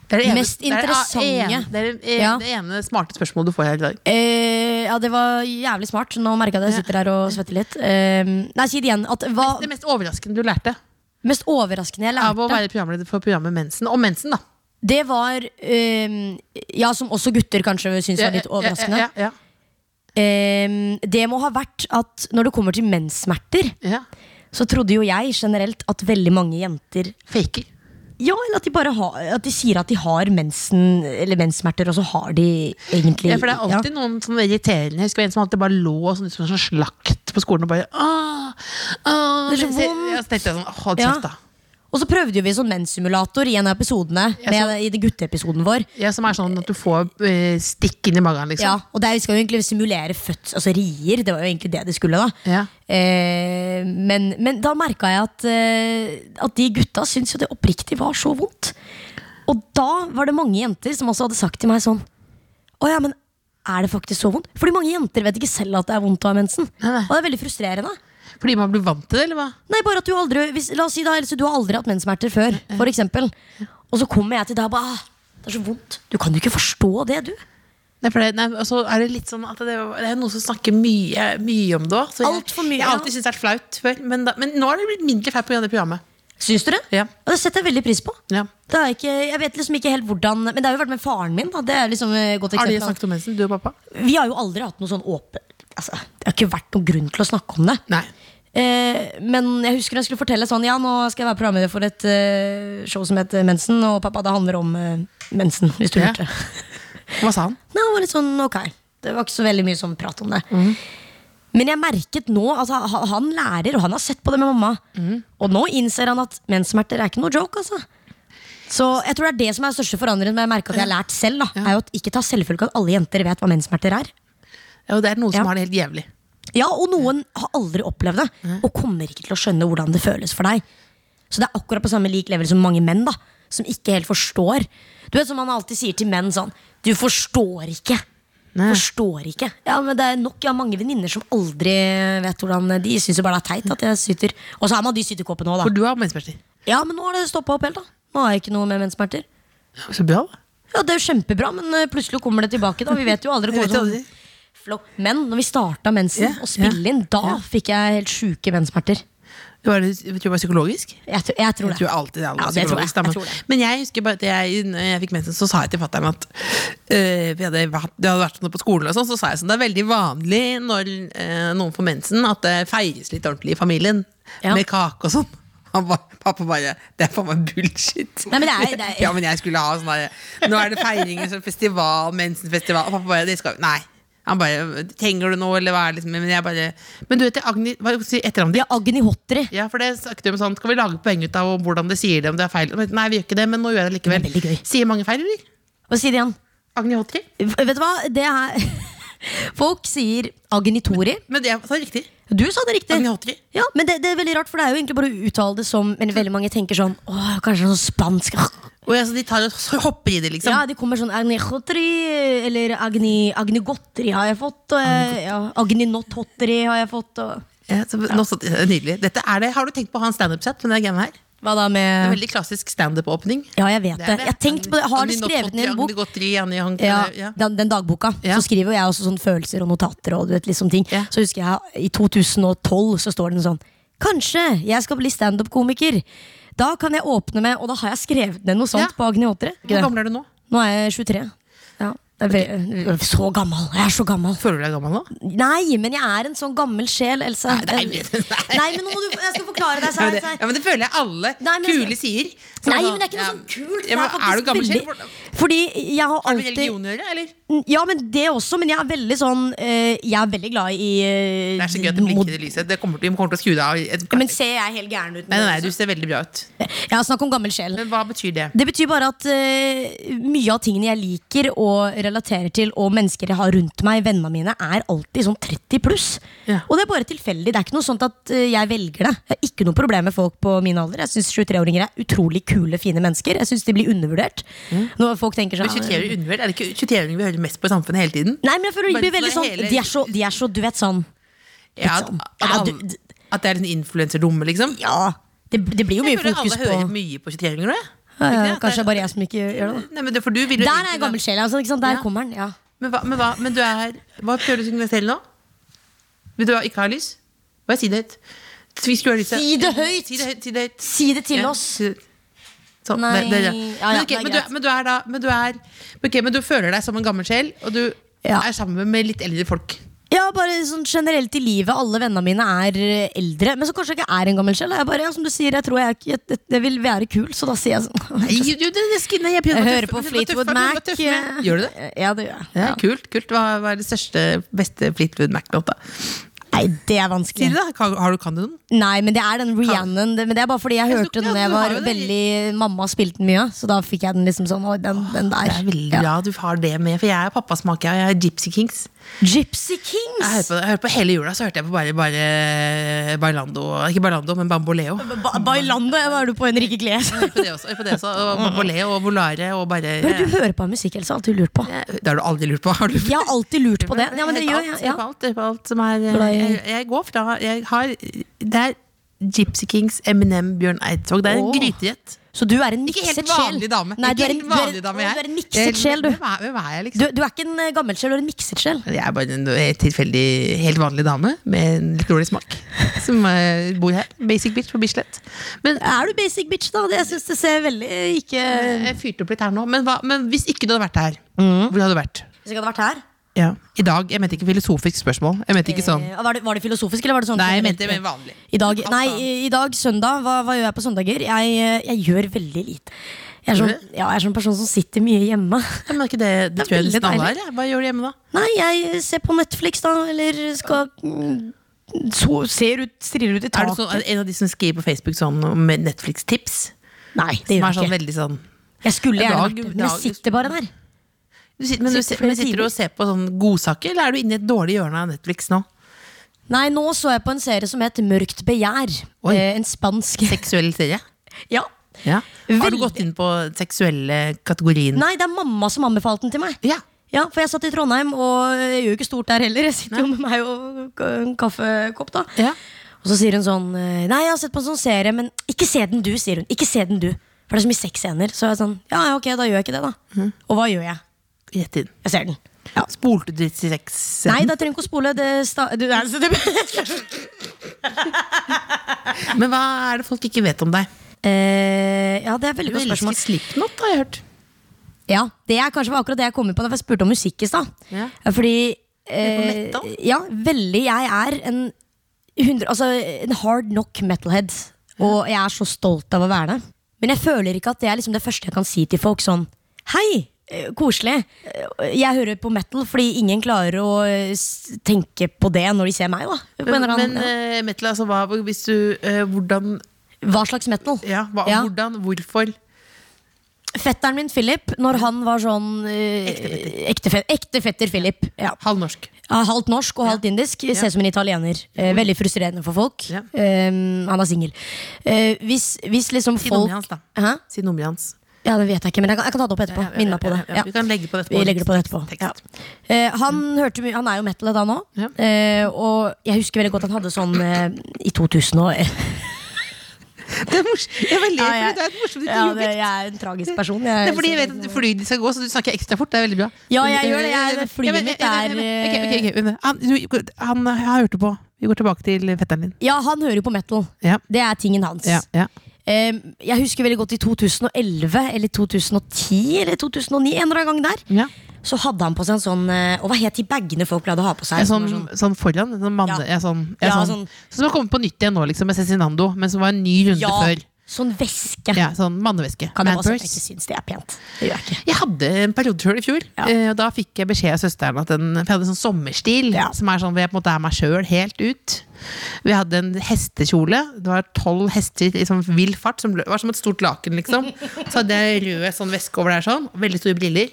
C: Det er det
E: Mest
C: det er det
E: interessante.
C: ene- Det er det ene,
E: Ja.
C: det ene smarte spørsmålet du får her i dag.
E: Eh, ja, det var jævlig smart. Nå merka jeg at jeg sitter her og svetter litt. Eh, nei, si det igjen. At, hva
C: Det mest overraskende du lærte
E: mest overraskende jeg
C: av å
E: lærte,
C: være programleder for programmet Mensen. Om mensen, da.
E: det var eh, Ja, som også gutter kanskje syns var litt
C: Ja, ja, ja,
E: overraskende.
C: Ja, ja,
E: Eh, det må ha vært at når det kommer til menssmerter,
C: ja.
E: så trodde jo jeg generelt at veldig mange jenter
C: Faker.
E: Ja, eller at de bare har, at de sier at de har mensen, eller menssmerter, og så har de egentlig
C: Ja, for det er alltid noen sånn irriterende. Jeg husker en som alltid bare lå sånn, ut som en sånn slakt på skolen og bare åh, åh,
E: Det er så
C: mens jeg-
E: vondt.
C: Ja, så tenkte jeg sånn, åh, hold
E: Ja.
C: kjeft da.
E: Og så prøvde jo vi sånn menssimulator i en av episodene,
C: Ja, sånn.
E: med,
C: så-
E: i det gutteepisoden vår.
C: Ja, som er sånn at du får eh, stikk inn i magen, liksom.
E: Ja, og der skal jo egentlig simulere født, altså rier. Det var jo egentlig det det skulle, da.
C: Ja.
E: Eh, men, men da merka jeg at, eh, at de gutta syntes jo det oppriktig var så vondt. Og da var det mange jenter som også hadde sagt til meg sånn Å ja, men er det faktisk så vondt? Fordi mange jenter vet ikke selv at det er vondt å ha mensen.
C: nei.
E: Og det er veldig frustrerende.
C: Fordi man blir vant til det, eller hva?
E: Nei, bare at du aldri hvis, La oss si da, Else, du har aldri hatt menssmerter før, for eksempel. Og så kommer jeg til deg og bare ah, Det er så vondt. Du kan jo ikke forstå det, du.
C: Nei, for det, nei, og så er det litt sånn at det, det er noen som snakker mye, mye om det også. så jeg-
E: Alt for mye,
C: Jeg har
E: ja.
C: alltid syntes det er flaut før, men, da, men nå har det blitt mindre flaut på grunn av det programmet.
E: Syns du det?
C: Ja.
E: Og det setter jeg veldig pris på.
C: Ja.
E: Det har jeg ikke, jeg vet liksom ikke helt hvordan Men det har jo vært med faren min. Da. Det er liksom et godt
C: Har de
E: eksempel.
C: snakket om mensen, du og pappa?
E: Vi har jo aldri hatt noe sånn åpen altså, Det har ikke vært noen grunn til å snakke om det.
C: Nei.
E: Eh, men jeg husker jeg skulle fortelle sånn Ja, nå skal jeg være programleder for et eh, show som heter Mensen. Og pappa, det handler om eh, mensen, hvis du
C: Ja.
E: lurte.
C: Hva sa han?
E: Nei, det var litt sånn ok. Det var ikke så veldig mye sånn prat om det. Men jeg merket nå at han- han lærer, og han har sett på det med mamma. Og nå innser han at menssmerter er ikke noe joke, altså. Så jeg tror det er det som er den største forandringen jeg merker at jeg har lært selv. da Er jo at Ikke ta selvfølge at alle jenter vet hva menssmerter er.
C: Ja, Ah. og det er noen som
E: Ja.
C: har det helt jævlig.
E: Ja, Og noen har aldri opplevd det, og kommer ikke til å skjønne hvordan det føles for deg. Så det er akkurat på samme lik level som mange menn, da som ikke helt forstår. Du vet som han alltid sier til menn sånn Du forstår ikke.
C: Nei.
E: Forstår ikke. Ja, men det er nok jeg har mange venninner som aldri vet hvordan De syns jo bare det er teit at jeg syter. Og så er man de sytekoppene òg,
C: For
E: da.
C: du har menssmerter.
E: Ja, men nå har det stoppa opp helt, da. Nå har jeg ikke noe med menssmerter.
C: Så bra, da.
E: Ja, det er jo kjempebra, men eh, plutselig kommer det tilbake, da. Vi vet jo aldri
C: Jeg
E: hvor
C: vet jo
E: sånn
C: aldri.
E: flokk. Men når vi starta mensen
C: Ja,
E: og spille inn, da
C: ja.
E: fikk jeg helt sjuke menssmerter.
C: Var det, tror du det var psykologisk?
E: Jeg, tror- jeg tror det.
C: Jeg tror alltid det er
E: Ja,
C: noe
E: det tror jeg.
C: psykologisk. da, men-
E: Jeg tror det.
C: Men jeg husker bare at jeg, når jeg fikk mensen, så sa jeg til fatter'n at øh, vi hadde, vært- det hadde vært noe på skolen, og sånn, så sa jeg sånn, det er veldig vanlig når øh, noen får mensen, at det feires litt ordentlig i familien.
E: Ja.
C: Med kake og sånn. Han ba, pappa bare Det er faen meg bullshit.
E: Nei, men det er- det er-
C: Ja, men jeg skulle ha sånn derre Nå er det feiring, en sånn festival, mensenfestival. Og pappa bare Det skal Nei. Han bare Trenger du noe, eller hva er det liksom Men jeg bare Men du vet Agni Hva si etternavnet ditt?
E: Ja, Agni Hotri.
C: Ja, for det snakket vi om sånn Skal vi lage poeng ut av hvordan det sier det, om det er feil? Nei, vi gjør ikke det, men nå gjør jeg det likevel.
E: Det er veldig gøy.
C: Sier mange feil, eller?
E: Hva sier de igjen?
C: Agni Hotri?
E: Vet du hva? Det er Folk sier Agni Tori.
C: Men det sa jeg riktig.
E: Du sa det riktig.
C: Agni Hotri.
E: Ja, men det, det er veldig rart, for det er jo egentlig bare å uttale det som Men veldig mange tenker sånn Åh, kanskje noe spansk
C: Og jeg, så de tar og så hopper i det, liksom.
E: Ja, det kommer sånn Agni Hotri Eller Agni, Agni Gotri har jeg fått og, jeg- ja, Agni Not Hotri har jeg fått og,
C: Ja, så, nå så- det er Nydelig. Dette er det. Har du tenkt på å ha en standup-sett med den greiene her? Det
E: Hva da
C: er
E: med
C: Veldig klassisk standup-åpning.
E: Ja, jeg vet
C: Det
E: det,
C: er
E: Jeg har tenkt på det Jeg har
C: Agni
E: det skrevet
C: Hotri,
E: ned i en bok
C: Agni Hotri, Agni Hang-
E: ja,
C: ja.
E: den, den dagboka.
C: Ja.
E: Så skriver jo jeg også sånn følelser og notater. Og du vet, liksom ting
C: Ja.
E: Så husker jeg i 2012 så står den sånn Kanskje jeg skal bli standup-komiker. Da kan jeg åpne med Og da har jeg skrevet ned noe sånt
C: Ja.
E: på Agni Åtre.
C: Hvor gammel er du nå?
E: Nå er jeg 23. Ja. Jeg er ve- Så gammel. Jeg er så gammel.
C: Føler du deg gammel nå?
E: Nei, men jeg er en sånn gammel sjel, Else.
C: nei,
E: En-
C: nei.
E: Nei, men nå må du Jeg skal forklare
C: Ja,
E: deg.
C: men,
E: Sara,
C: det,
E: Sara.
C: ja, men det føler jeg alle
E: Nei, men-
C: kule sier. Så
E: Nei,
C: sånn,
E: men det er ikke noe
C: ja,
E: sånn kult.
C: Ja,
E: Det
C: men,
E: er
C: er du
E: faktisk
C: gammel
E: veldig-
C: selv? Hvordan-
E: Fordi jeg har
C: Har du med religion
E: alltid
C: å gjøre, eller?
E: Mm, Ja, men det også, men jeg er veldig sånn eh, Jeg er veldig glad i eh,
C: Det er så gøy at de
E: mod-
C: blinker i lyset. Det kommer til, de kommer til å skru deg av. i Et,
E: Ja,
C: nei,
E: Men ser jeg helt gæren ut? nå,
C: nei, nei, du
E: altså?
C: ser veldig bra ut.
E: Ja, snakk om gammel sjel.
C: Men hva betyr det?
E: Det betyr bare at eh, mye av tingene jeg liker og relaterer til, og mennesker jeg har rundt meg, vennene mine, er alltid sånn 30 pluss.
C: Ja.
E: Og det er bare tilfeldig. Det er ikke noe sånt at eh, jeg velger det. Jeg har ikke noe problem med folk på min alder. Jeg syns 23-åringer er utrolig kule, fine mennesker. Jeg syns de blir undervurdert. Når folk tenker
C: Mm. Men
E: sånn
C: 23 undervurdert? Er det ikke 23-åringer vi hører mest på i samfunnet hele tiden?
E: Nei, men jeg føler de
C: Bare
E: blir
C: for
E: veldig sånn
C: hele-
E: De er så, de er så du vet sånn
C: Ja, at,
E: sånn.
C: at,
E: Ja,
C: alle-
E: du-
C: at det er en influenserdumme, liksom?
E: Ja, det, det blir jo mye
C: Jeg føler
E: fokus
C: alle
E: på
C: hører mye på 23-åringer, da.
E: ja,
C: Ikke
E: ja,
C: det? At
E: Kanskje det
C: det
E: er bare jeg som ikke gjør det. da.
C: Nei, men det, for du vil jo
E: Der er
C: egentlig
E: jeg
C: da-
E: gammel sjel. Altså, ikke sant? Der
C: Ja.
E: kommer den. ja
C: Men hva, men hva, men du er Hva prøver du å signalisere nå? Vil du ha- ikke ha lys? Bare si det høyt. Vi skulle ha lyset.
E: Si det høyt!
C: Si det høyt, si det høyt.
E: Si det til
C: Ja,
E: oss.
C: si det- Sånn,
E: Nei,
C: det- det- det.
E: ja, ja,
C: Men ok,
E: det er
C: men du-
E: greit.
C: Men du er da Men du er Ok, men du føler deg som en gammel sjel, og du
E: Ja.
C: er sammen med litt eldre folk.
E: Ja, bare sånn generelt i livet. Alle vennene mine er eh, eldre. Men så kanskje jeg ikke er en gammel sjel. da. Jeg bare, ja, som du sier, jeg tror jeg, er ikke- jeg, jeg vil være kul, så da sier jeg sånn.
C: Nei, jo, det- det skal- nei, jeg begynner
E: Jeg
C: å
E: hører
C: tøffe-
E: på
C: begynner å
E: Fleetwood
C: tøffe- begynner å
E: Mac. Eh,
C: tøffe meg. Gjør du det?
E: Ja, det gjør jeg.
C: Ja,
E: Ja.
C: Kult. kult Hva, hva er det største, beste Fleetwood Mac-låta?
E: Nei, det er
C: Si det,
E: vanskelig.
C: da. Kan- Har du, kan du den?
E: Nei, men det er den Rhiannon. det- Men det er bare fordi jeg
C: Jeg tror
E: hørte
C: ikke
E: den da jeg
C: at du har
E: var
C: jo den
E: veldig Mamma spilte den mye, så da fikk jeg den liksom sånn. Oi, den, den der.
C: Det er veldig
E: Ja.
C: bra du har det med, for jeg er pappasmak. Jeg jeg er Gypsy Kings.
E: Gypsy
C: Jeg hører,
E: Kings!
C: på, jeg hører på hele jula, så hørte jeg på bare, bare Bailando Ikke Bailando, men Bamboleo. Jeg
E: Ba Bailando var du på Henrike Gles.
C: hører på det også, jeg hører på det også og Bamboleo og Volare og bare
E: Hører du hører på musikk, Else? Alltid lurt på.
C: Det har du aldri lurt på, har du?
E: Jeg har alltid lurt på det. Ja, men det
C: Jeg
E: gjør
C: hører
E: jeg.
C: på alt, hører
E: Ja.
C: på alt, hører på alt som er eh,
E: Glad i-
C: jeg, jeg går fra Jeg har Det er Gypsy Kings, Eminem, Bjørn Eidsvåg. Det er en
E: Åh.
C: gryterett.
E: Så du er en
C: Ikke
E: mikset
C: helt
E: sjel.
C: vanlig dame.
E: Nei, du
C: Ikke
E: er
C: helt
E: en, du er,
C: vanlig dame,
E: å,
C: jeg.
E: du er en mikset sjel, du.
C: Hvem er, hvem er jeg, liksom?
E: du. Du er ikke en eh, gammel sjel, du er en mikset sjel.
C: Jeg er bare en eh, tilfeldig, helt vanlig dame med en litt dårlig smak. Som eh, bor her. Basic bitch på Bislett. Men eh,
E: Er du basic bitch, da? Det, jeg syns det ser veldig eh, ikke Hvis
C: jeg fyrte opp litt her nå. Men, hva, men hvis ikke du hadde vært her,
E: Mm.
C: hvor hadde du vært?
E: jeg hadde vært her
C: Ja. I dag. Jeg mente ikke filosofisk spørsmål. Jeg mente ikke sånn.
E: eh, var, det, var det filosofisk, eller var det sånn?
C: Nei, jeg mente men vanlig.
E: I dag, nei, i- i dag søndag, hva, hva gjør jeg på søndager? Jeg, eh, jeg gjør veldig lite. Jeg er, sånn,
C: Gjør
E: ja, jeg er sånn person som sitter mye hjemme.
C: Ja, Men er ikke det, det,
E: Det er
C: tror jeg
E: veldig
C: nesten alle
E: deilig.
C: er. jeg. Hva gjør du hjemme, da?
E: Nei, jeg ser på Netflix, da. Eller skal mm, så, Ser ut, stirrer ut
C: Er
E: i
C: du
E: taket.
C: sånn, en av de som skriver på Facebook sånn om Netflix-tips?
E: Nei,
C: Som
E: det gjør
C: er sånn
E: jeg ikke.
C: veldig sånn
E: Jeg skulle
C: Ja,
E: gjerne
C: dag-
E: vært det, men jeg
C: dag-
E: sitter bare der.
C: du sitter, Men du,
E: Sitter
C: sitter, men
E: flere
C: sitter du og ser på sånn godsaker, eller er du inne i et dårlig hjørne av Netflix nå?
E: Nei, nå så jeg på en serie som het Mørkt begjær.
C: Oi.
E: Eh, en spansk
C: Seksuell serie?
E: Ja.
C: Ja. Har du
E: Veldig.
C: gått inn på seksuelle kategorien?
E: Nei, det er mamma som anbefalte den til meg.
C: Ja.
E: Ja, For jeg satt i Trondheim, og jeg gjør jo ikke stort der heller. Jeg sitter jo med meg og k- en kaffekopp, da.
C: Ja.
E: Og så sier hun sånn eh, Nei, jeg har sett på en sånn serie, men ikke se den du, sier hun. Ikke se den du. For det er så mye sexscener. Så jeg er sånn Ja, ja, ok, da gjør jeg ikke det, da. Og hva gjør jeg?
C: Gjett inn.
E: Jeg ser den.
C: Spolte du til sex?
E: Nei, da trenger jeg ikke å spole. Det sta du, altså, det,
C: Men hva er det folk ikke vet om deg?
E: Eh, ja, det er et
C: Du
E: veldig godt spørsmål.
C: elsker Slipknot, har jeg hørt.
E: Ja, det er kanskje akkurat det jeg kom inn på da jeg spurte om musikk i stad.
C: Ja.
E: Fordi eh,
C: Er du på metal?
E: ja, veldig. Jeg er en, 100, altså, en hard knock metalhead. Og jeg er så stolt av å være det. Men jeg føler ikke at det er liksom det første jeg kan si til folk sånn Hei! eh, Koselig. Eh, Jeg hører på metal fordi ingen klarer å eh, s- tenke på det når de ser meg. da På en
C: Men,
E: eller annen-
C: men eh, metal, altså hva, hvis du, eh, hvordan,
E: ja. Hva slags metal?
C: ja, hva,
E: Ja.
C: hvordan, hvorfor?
E: Fetteren min Philip, når han var sånn eh, ekte, fe- ekte fetter Philip. Ja.
C: Halvnorsk.
E: Ja, halvt norsk og halvt indisk. Ser ut som en italiener. Eh, veldig frustrerende for folk.
C: Mm. Ja.
E: Eh, han er singel. Eh, hvis, hvis liksom
C: Si
E: folk
C: nummeret hans, da.
E: Hæ?
C: Si nummeret hans.
E: Ja, det vet jeg ikke, men jeg kan, jeg kan ta det opp etterpå.
C: Ja, ja, ja,
E: Minn meg på det.
C: ja, ja. Vi kan legge på det etterpå.
E: Vi legger det på det etterpå.
C: Tekst. Mm.
E: Ja. Eh, han, hørte mye, han er jo metal da nå,
C: Ja.
E: eh, og jeg husker veldig godt han hadde sånn eh, i 2000 og
C: Det er morsomt. Jeg bare ler,
E: Ja,
C: fordi
E: jeg-
C: det er et morsomt
E: ja, det,
C: intervjuobjekt.
E: Jeg er en tragisk person.
C: Det
E: Jeg,
C: er fordi jeg vet at fly de skal gå, så du snakker ekstra fort. Det er veldig bra.
E: Ja, jeg gjør det. Jeg-
C: Men-
E: flyet
C: Ja, men-
E: mitt
C: ja,
E: er, eh,
C: men- ja, men- ok, ok, ok, men Han, du, han har hørt det på. Vi går tilbake til fetteren din.
E: ja, han hører jo på metal.
C: Ja.
E: Det er tingen hans.
C: Ja, ja.
E: Eh, jeg husker veldig godt i 2011 eller 2010 eller 2009, en eller annen gang der.
C: Ja.
E: så hadde han på seg en sånn eh, Og hva het de bagene folk pleide å ha på seg?
C: En sånn,
E: Som var
C: sånn foran. en Sånn manne,
E: Ja.
C: ja. sånn, ja,
E: Ja,
C: sånn,
E: sånn-
C: Som har kommet på nytt igjen nå, liksom, med Cezinando. Men som var en ny runde
E: ja,
C: før.
E: sånn veske.
C: Ja, sånn manneveske.
E: Kan jeg
C: Man
E: bare si at jeg
C: purse.
E: ikke syns det er pent? Det gjør jeg ikke.
C: Jeg hadde en periode sjøl i fjor.
E: Ja.
C: eh, Og da fikk jeg beskjed av søsteren at den, For jeg hadde en sånn sommerstil
E: Ja.
C: som er sånn hvor jeg på en måte er meg sjøl helt ut. Vi hadde en hestekjole. Det var tolv hester i sånn vill fart. Som lø- var som et stort laken, liksom. Så hadde jeg rød sånn veske over der sånn. og Veldig store briller.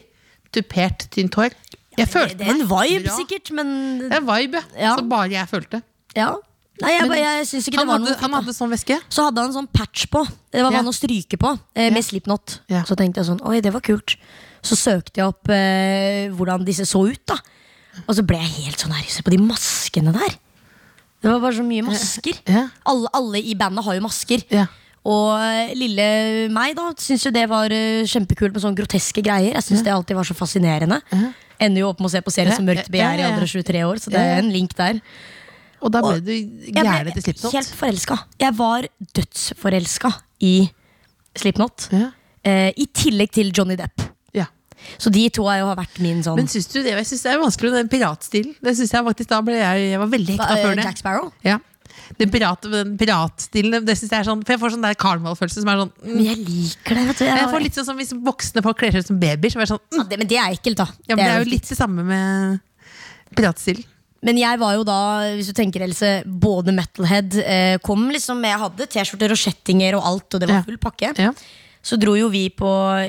C: Tupert, tynt hår. Jeg
E: Det,
C: følte
E: det er en
C: meg
E: vibe,
C: bra.
E: sikkert, men
C: Det er en vibe,
E: Ja.
C: som bare jeg følte.
E: ja. Nei, jeg, bare- jeg syns ikke det
C: Han
E: var
C: hadde,
E: noe
C: han
E: fint, da.
C: hadde sånn veske.
E: Så hadde han en sånn patch på. Det var
C: Ja.
E: vann å stryke på, eh, med Slipknot.
C: Ja.
E: Så tenkte jeg sånn, oi, det var kult. Så søkte jeg opp eh, hvordan disse så ut, da. Og så ble jeg helt sånn her, se på de maskene der. Det var bare så mye masker.
C: Ja.
E: Alle, alle i bandet har jo masker.
C: Ja.
E: Og eh, lille meg da syntes jo det var eh, kjempekult med sånne groteske greier. Jeg syns det alltid var så fascinerende. Ender jo opp med å se på serien
C: Ja,
E: som
C: ja,
E: Mørkt begjær
C: ja,
E: i
C: ja.
E: alder av 23 år, så det
C: Ja, ja.
E: er en link der.
C: Og da ble
E: Og-
C: du
E: Jeg
C: gæren
E: ble
C: etter Slipknot.
E: Helt forelska. Jeg var dødsforelska i Slipknot.
C: Ja.
E: Eh, I tillegg til Johnny Depp.
C: Ja.
E: Så de to har jo vært min sånn
C: Men syns du det? Jeg synes det er vanskelig med den piratstilen. Det synes jeg faktisk, Da ble jeg, jeg var veldig hekta
E: Hva, eh,
C: før det.
E: Jack Sparrow?
C: Ja. Den, pirat, den piratstilen, det synes jeg er sånn For jeg får sånn der karnevalfølelse som er sånn mm.
E: Men jeg liker det, vet du. Jeg
C: Jeg
E: har-
C: får litt sånn som hvis voksne folk kler seg ut som babyer. Så var jeg sånn,
E: ja,
C: mm.
E: det, men det er ekkelt, da.
C: ja, men det er jo
E: ekkelt.
C: litt det samme med piratstilen.
E: Men jeg var jo da, hvis du tenker Else, både metalhead eh, Kom liksom, Jeg hadde T-skjorter og kjettinger og alt, og det
C: Ja.
E: var full pakke.
C: Ja.
E: Så dro jo vi på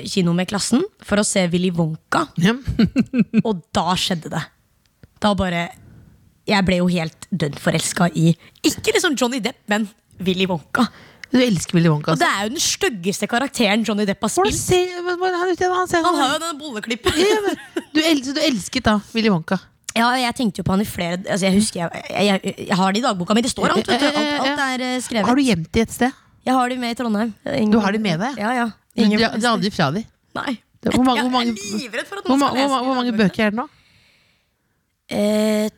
E: kino med klassen for å se Willy Wonka,
C: Ja.
E: og da skjedde det. Da bare Jeg ble jo helt dønn forelska i Ikke liksom Johnny Depp, men Willy Wonka.
C: Du elsker Willy Wonka.
E: Og det
C: Altså.
E: er jo den styggeste karakteren Johnny Depp har
C: Hvordan
E: spilt.
C: ser hvordan- han ut igjen? Han ser
E: Han har
C: sånn
E: jo den bolleklippen.
C: Ja, men du, el- så du elsket da Willy Wonka?
E: Ja, jeg tenkte jo på han i flere altså Jeg husker, jeg, jeg, jeg, jeg har det i dagboka mi. Det står alt. Vet du. Alt, alt er eh, skrevet.
C: Har du gjemt det et sted?
E: Jeg har de med i Trondheim. Ingen-
C: Du har de med deg?
E: Ja, ja.
C: Du,
E: Ingen
C: du, du er aldri fra dem?
E: Nei.
C: Hvor mange,
E: Jeg
C: hvor mange,
E: er livredd for at
C: hvor,
E: noen
C: ma-
E: skal lese
C: hvor, ma- hvor mange
E: de
C: bøker er det nå?
E: Eh,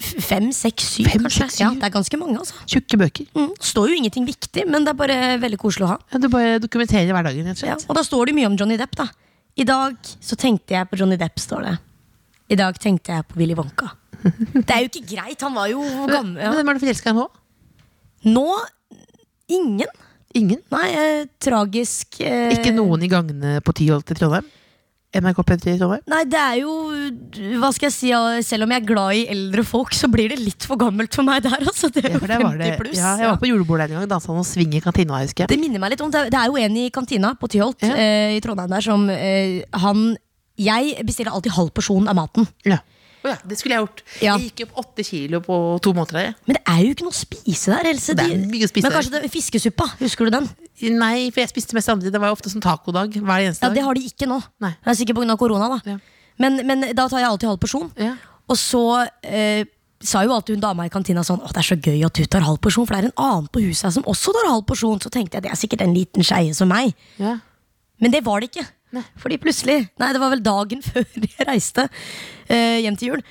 E: f- fem, seks, syv,
C: Fem,
E: kanskje.
C: seks, syv?
E: Ja, det er ganske mange, altså.
C: Tjukke bøker.
E: Mm. Står jo ingenting viktig, men det er bare veldig koselig å ha.
C: Ja, du bare dokumenterer hverdagen. rett og
E: Ja.
C: slett.
E: Og da står det mye om Johnny Depp, da. I dag så tenkte jeg på Johnny Depp, står det. I dag tenkte jeg på Willy Wonka. Det er jo ikke greit, han var jo
C: Men-
E: gammel.
C: Men
E: Ja.
C: Hvem er du forelska i nå?
E: Nå ingen.
C: Ingen?
E: Nei, eh, tragisk eh,
C: Ikke noen i gangene på Tyholt i Trondheim? NRK P3 i Trondheim?
E: Nei, det er jo Hva skal jeg si, ja, selv om jeg er glad i eldre folk, så blir det litt for gammelt for meg der. Altså. Det er
C: Ja,
E: jo
C: for der var
E: 50
C: det,
E: pluss.
C: ja, jeg var på julebordet der en gang. Dansa noen swing i kantina. husker
E: Det
C: jeg
E: minner meg litt om Det er- det er jo en i kantina på Tyholt
C: Ja.
E: eh, i Trondheim der som eh, han Jeg bestiller alltid halv porsjon av maten.
C: ja. Å ja, det skulle jeg gjort.
E: Ja.
C: Jeg gikk opp åtte kilo på to måneder.
E: Men det er jo ikke noe å spise der, Else.
C: Det er
E: De-
C: mye å spise
E: Men
C: der.
E: kanskje det, fiskesuppa, husker du den?
C: jeg. Nei, for jeg spiste mest andre. Det var jo ofte sånn tacodag hver eneste
E: Ja, Det
C: dag.
E: har de ikke nå.
C: Nei.
E: Det er sikkert pga. korona, da.
C: Ja.
E: Men, men da tar jeg alltid halv porsjon.
C: Ja.
E: Og så eh, sa jo alltid hun dama i kantina sånn Å, det er så gøy at du tar halv porsjon, for det er en annen på huset her som også tar halv porsjon. Så tenkte jeg det er sikkert en liten skeie som meg.
C: Ja.
E: Men det var det ikke. Fordi plutselig, nei det var vel dagen før jeg reiste eh, hjem til jul,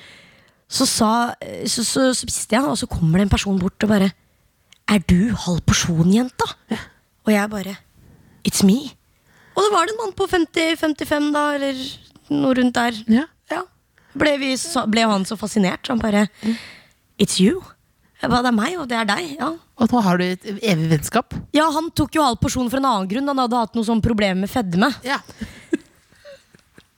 E: så, sa, eh, så, så, så spiste jeg, og så kommer det en person bort og bare Er du halv porsjon, jenta? Og jeg bare It's me. Og det var det en mann på 50-55 da, eller noe rundt der.
C: Ja.
E: Ble, vi, så, ble han så fascinert. Han bare It's you. Jeg ba, det er meg, og det er deg. Ja.
C: Og nå har du et evig vennskap.
E: ja, han tok jo halv porsjon for en annen grunn. Han hadde hatt noe sånn problem med fedme.
C: Ja.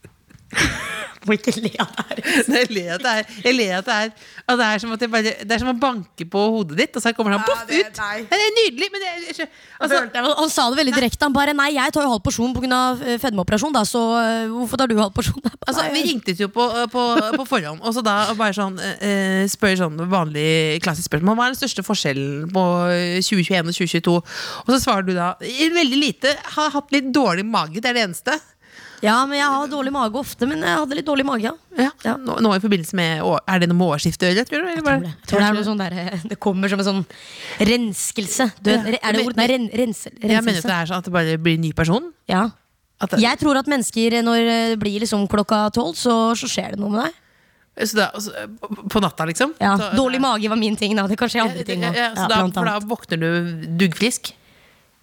E: Må ikke le av det her.
C: Jeg ler at det er, jeg ler at det er, at det er som at jeg bare, Det er som å banke på hodet ditt, og så kommer han poff
E: det-
C: ut!
E: nei.
C: Det er nydelig, men jeg, jeg, skjø- altså,
E: han, han sa det veldig direkte. Han bare nei, jeg tar jo halv porsjon pga. eh, fedmeoperasjon, da, så eh, hvorfor tar du halv porsjon? Jeg bare,
C: Altså, vi
E: «Nei,
C: ringte jo på, på, på forhånd, og så da bare sånn eh, spør sånn vanlig klassisk spørsmål. Hva er den største forskjellen på 2021 og 2022? Og så svarer du da veldig lite. Har hatt litt dårlig mage, det er det eneste.
E: Ja, men jeg har dårlig mage ofte, men jeg hadde litt dårlig mage, ja.
C: Ja.
E: Ja.
C: Nå, nå i forbindelse med år- Er det noe med årsskiftet å gjøre, tror du? eller
E: Jeg
C: bare-
E: tror det. Jeg tror det er noe sånn der, eh, Det kommer som en sånn renskelse. Du,
C: Ja.
E: er det ordet? Nei, ren, rense,
C: Jeg mener at det
E: renselse.
C: er sånn at det bare blir en ny person.
E: Ja.
C: At det,
E: Jeg tror at mennesker, eh, når det blir liksom klokka tolv, så, så skjer det noe med deg.
C: så da, så, på natta, liksom.
E: Ja,
C: Så-
E: Dårlig mage var min ting, da. Det kan skje andre
C: Ja,
E: ting òg.
C: ja, så da, for da våkner du duggfrisk?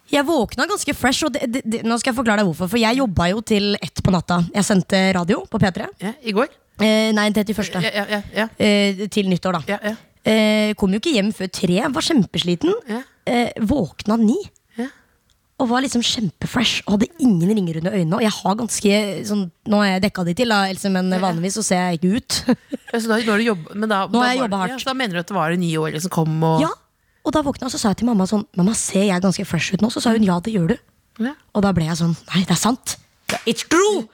E: Jeg våkna ganske fresh, og det, det, det, nå skal jeg forklare deg hvorfor. For jeg jobba jo til ett på natta. Jeg sendte radio på P3.
C: Ja, I går?
E: Eh, nei, 31.
C: Ja, ja, ja, ja.
E: Eh, til nyttår, da.
C: Ja, ja.
E: Eh, kom jo ikke hjem før tre. Var kjempesliten.
C: Ja.
E: Eh, våkna ni.
C: Ja.
E: Og var liksom kjempefresh og hadde ingen ringer under øynene. Og jeg har ganske sånn, Nå har jeg dekka de til, da, Else, men vanligvis så ser jeg ikke ut.
C: Ja, så da, nå har du jobb, men da, da
E: Nå har jeg
C: var-
E: jobbet hardt.
C: Ja, så da mener du at det var de ni årene som kom? Og,
E: ja, Og da våkna jeg, og så sa jeg til mamma sånn Mamma, ser jeg ganske fresh ut nå? Så sa hun ja, det gjør du.
C: Ja.
E: Og da ble jeg sånn Nei, det er sant. It's true!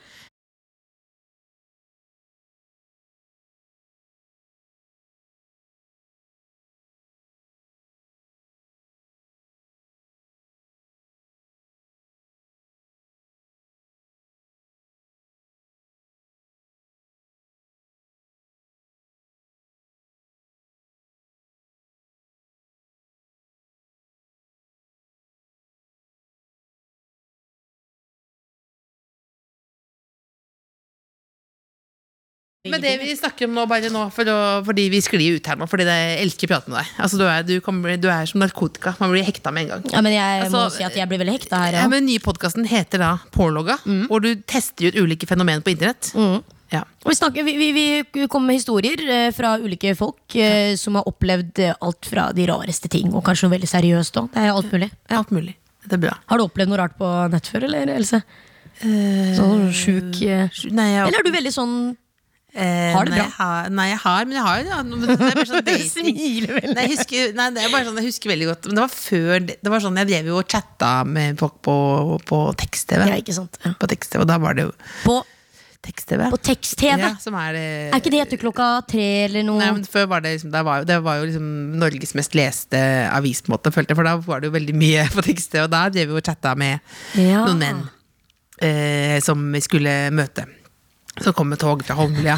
C: Men det vi snakker om nå, bare nå for å, fordi vi sklir ut her nå, fordi det- jeg elsker å prate med deg. Altså, du, er, du, kan bli- du er som narkotika. Man blir hekta med en gang.
E: Ja, men jeg må
C: Altså,
E: si at jeg blir veldig hekta
C: Ja,
E: her.
C: Mm.
E: Ja.
C: men Den nye podkasten heter da Pålogga, hvor du tester ut ulike fenomener på internett. Ja.
E: Og Vi, snakker, vi, vi, vi kommer med historier eh, fra ulike folk eh, som har opplevd eh, alt fra de rareste ting, og kanskje noe veldig seriøst òg. Det er alt mulig.
C: Alt mulig. Det er bra.
E: Har du opplevd noe rart på nett før, eller Else? Sånn sjuk eh,
C: Nei, jeg,
E: Eller er du veldig sånn
C: eh,
E: har det
C: nei,
E: bra?
C: Jeg har, nei, jeg har, men jeg har ja, men Det er bare sånn dating.
E: Smiler veldig.
C: Nei, jeg husker, nei, det er bare sånn, jeg husker veldig godt Men det var før det, det var sånn, Jeg drev jo og chatta med folk på, på tekst-TV.
E: Ja, ikke sant. Ja.
C: På tekst-TV, og da var det jo
E: På,
C: tekst-TV.
E: på tekst-TV!
C: Ja, som er, eh,
E: Er ikke det etter klokka tre eller noe?
C: Nei, men før var det liksom, det var, jo- det var jo liksom Norges mest leste avis, på en måte, følte jeg, for da var det jo veldig mye på tekst-TV, og da drev vi og chatta med
E: Ja.
C: noen menn eh, som vi skulle møte. Så kom med tog fra Holmlia.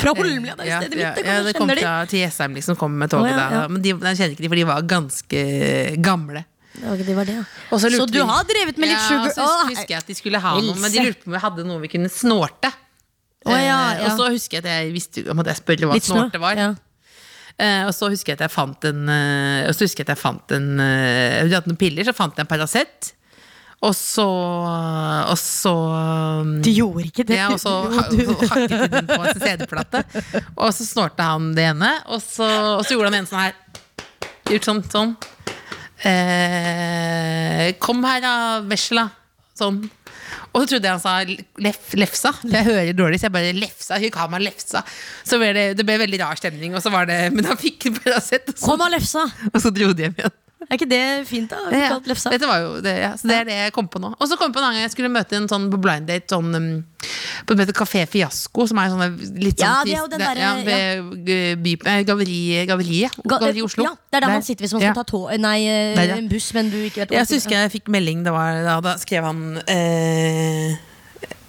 E: Fra Holmlia, det er jo stedet
C: ja,
E: mitt!
C: ja,
E: Ja,
C: det
E: ja,
C: kom
E: kjenner de.
C: fra til Jessheim, liksom, kom med toget
E: Å, ja,
C: da.
E: ja.
C: Men de, jeg kjenner ikke de, for de var ganske eh, gamle.
E: Ja, ok, det var det, ja.
C: Og
E: Så
C: lurte
E: du
C: vi-
E: har drevet med litt
C: ja,
E: sugar
C: og Så
E: Åh,
C: hus- husker jeg at de skulle ha noe, men de
E: Else.
C: lurte på om vi hadde noe vi kunne snorte.
E: Å, ja,
C: Eh,
E: ja.
C: Og så husker jeg at jeg visste jo- måtte jeg spørre hva
E: Litt snå.
C: snorte var.
E: Ja.
C: Eh, og så husker jeg at jeg fant en eh, Og så husker jeg at jeg fant en eh, Vi hadde noen piller, så fant jeg en Paracet. Og så Og så
E: Du gjorde ikke det.
C: ja, og så ha- og
E: Jo, du-
C: så hakket de den på en CD-plate. Og så snorte han det ene, og så, og så gjorde han en sånn her. Gjort sånn. sånn. Eh, kom her, da, vesla. Sånn. Og så trodde jeg han sa lef, lefsa. Jeg hører dårlig, så jeg bare lefsa. Hun ga meg lefsa. Så ble det, det ble veldig rar stemning, og så var det Men han fikk Paracet, og, så-
E: Kom av lefsa!
C: og så dro de hjem igjen.
E: Er ikke det fint, da?
C: Ja,
E: Kalt lefsa.
C: Dette var jo det, ja. Så det er det jeg kom på nå. Og så kom jeg på en annen gang jeg skulle møte en sånn på blind date sånn, um, på et Kafé Fiasko, som er sånne litt sånn
E: Ja, det er jo
C: trist-
E: den derre-
C: ja, ved, eh, by- eh, Gaveri- Gaveriet.
E: Ga-
C: Gaveri i Oslo.
E: Ja, det er der man sitter hvis man skal ta tog, nei, eh,
C: Der, ja.
E: en buss, men du ikke vet
C: Jeg husker jeg fikk melding, det var, da, da skrev han eh,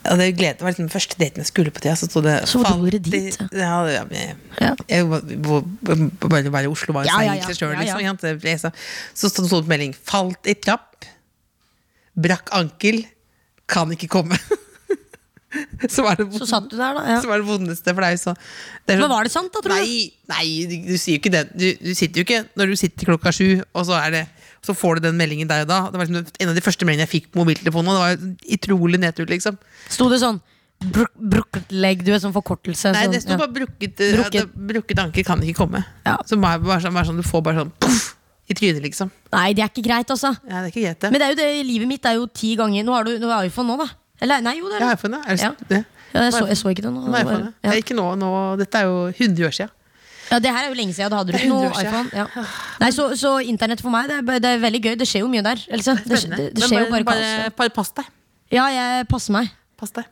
C: ja, det, gled, det var liksom første daten jeg skulle på til. Så, sto det,
E: Så du gjorde
C: falt i-
E: dit,
C: Ja, ja, men-
E: Ja.
C: jeg var- Eh, hvor- hvor- Bare å være i Oslo var jo
E: Ja, ja,
C: seier i
E: ja.
C: seg sjøl,
E: Ja, ja.
C: liksom. ikke sant? Det ble Så så sto det sånn melding 'Falt i trapp. Brakk ankel. Kan ikke komme'. så var det
E: Så satt du der, da. Ja.
C: som er det vondeste for deg. Så det er
E: Men
C: sånn-
E: var det sant da, tror du?
C: Nei, nei du, du sier jo ikke det. Du, du sitter jo ikke når du sitter klokka sju, og så, er det, så får du den meldingen der og da. Det var liksom en av de første meldingene jeg fikk på mobiltelefonen, og det var jo utrolig nedtur, liksom.
E: Sto det sånn bruk, Brukleg, du er sånn forkortelse.
C: Nei,
E: sånn,
C: det sto
E: ja.
C: bare brukket eh,
E: Brukket.
C: at det- Brukket anker kan ikke komme.
E: Ja.
C: Så bare, bare, sånn, bare sånn, du får bare sånn puff, i trynet, liksom.
E: nei, det er ikke greit, altså.
C: Ja, det er ikke greit, det.
E: Men det er jo det, livet mitt er jo ti ganger Nå har du nå er iPhone nå, da. Eller nei, jo, det er
C: ja,
E: det.
C: iPhone, ja. Er det,
E: Ja.
C: det?
E: Ja, jeg, så, jeg så ikke det nå.
C: Nå er
E: det var-
C: iPhone, ja.
E: ja.
C: Det er Ikke nå, nå, dette er jo 100 år siden.
E: ja, Det her er jo lenge siden. Da hadde du
C: Det er
E: ikke
C: 100
E: noe
C: år siden.
E: iPhone. Ja. Nei, så, så internett for meg, det er, bare- det er veldig gøy. Det skjer jo mye der. Else. Det,
C: Spennende.
E: det, det
C: Men
E: skjer jo
C: bare,
E: bare kaos.
C: bare, bare pass deg.
E: Ja, jeg passer meg.
C: Pass deg.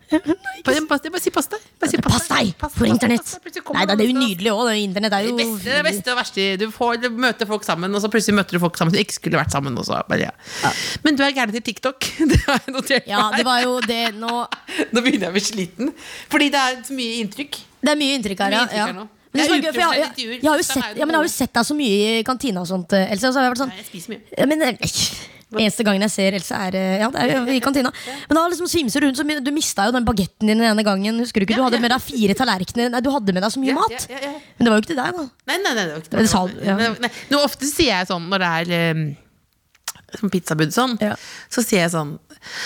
C: Bare, pass deg. bare si pass deg. Bare si
E: Pass deg for internett! Nei, da, det er jo nydelig òg. Internett er
C: Det
E: jo
C: beste, det beste og verste. Du får møte folk sammen, og så plutselig møter du folk sammen som ikke skulle vært sammen. Og så bare, ja. Men du er gæren til TikTok. Det har jeg notert.
E: Ja,
C: meg.
E: det var jo det nå
C: Nå begynner jeg å bli sliten. Fordi det er så mye inntrykk.
E: Det er mye inntrykk her, ja.
C: Mye inntrykk her
E: ja.
C: nå.
E: Men det
C: Det er
E: som er gøy, for jeg,
C: uprofesjonelle
E: jeg,
C: intervjuer.
E: jeg, har jo
C: Sånn
E: sett,
C: er det
E: ja, men jeg
C: nå.
E: har jo sett deg så mye i kantina og sånt, eh, Else. Og så har jeg vært sånn
C: Nei, jeg spiser mye.
E: ja, men, eh, Eneste gangen jeg ser Else, er eh, Ja, det er jo i kantina. Men da liksom svimser hun så mye. Du mista jo den bagetten din den ene gangen. Husker du ikke? Du hadde med deg fire tallerkener. Nei, du hadde med deg så mye
C: Ja,
E: mat.
C: ja, ja, ja.
E: Men det var jo ikke til deg, da.
C: Nei, nei, nei, det var ikke
E: Det er sal- ja.
C: Nei, nei. Nå ofte sier jeg ehm, sånn når det er eh, som pizzabud sånn,
E: Ja.
C: så sier jeg sånn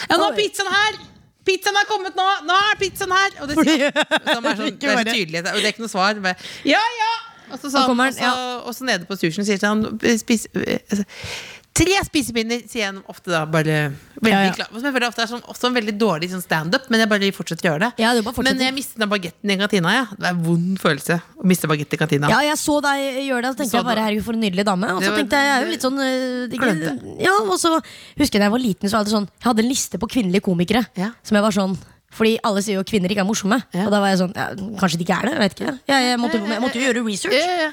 C: Ja, nå
E: Oi.
C: er pizzaen her! Pizzaen er kommet nå! Nå er pizzaen her! Og det sier som er sånn, det er så tydelig, og det er ikke noe svar. Bare, ja, ja! Og så, sa
E: Og
C: han,
E: kommer
C: og
E: han,
C: så, og så nede på sushien sier han spis, altså, Tre spisepinner, sier han ofte da. Bare veldig
E: Ja, ja.
C: klar. Som jeg føler ofte er sånn, også en veldig dårlig sånn standup, men jeg bare fortsetter å gjøre det.
E: Ja, du bare fortsetter.
C: men jeg mistet den bagetten i kantina. Ja. Det er en vond følelse å miste bagett i kantina.
E: Ja, jeg så deg gjøre det, og så tenkte
C: Så
E: jeg bare
C: det.
E: herregud, for en nydelig dame. Og
C: Det
E: så
C: var-
E: tenkte jeg, jeg er jo litt sånn øh,
C: Glemte.
E: ikke- Ja, og så husker jeg da jeg var liten, så var det sånn Jeg hadde en liste på kvinnelige komikere.
C: Ja.
E: Som jeg var sånn fordi alle sier jo at kvinner ikke er morsomme.
C: Ja.
E: Og da var jeg sånn, ja, kanskje de ikke er det? Jeg vet ikke Jeg, jeg, måtte, jeg måtte jo gjøre
C: Ja,
E: research.
C: ja, ja.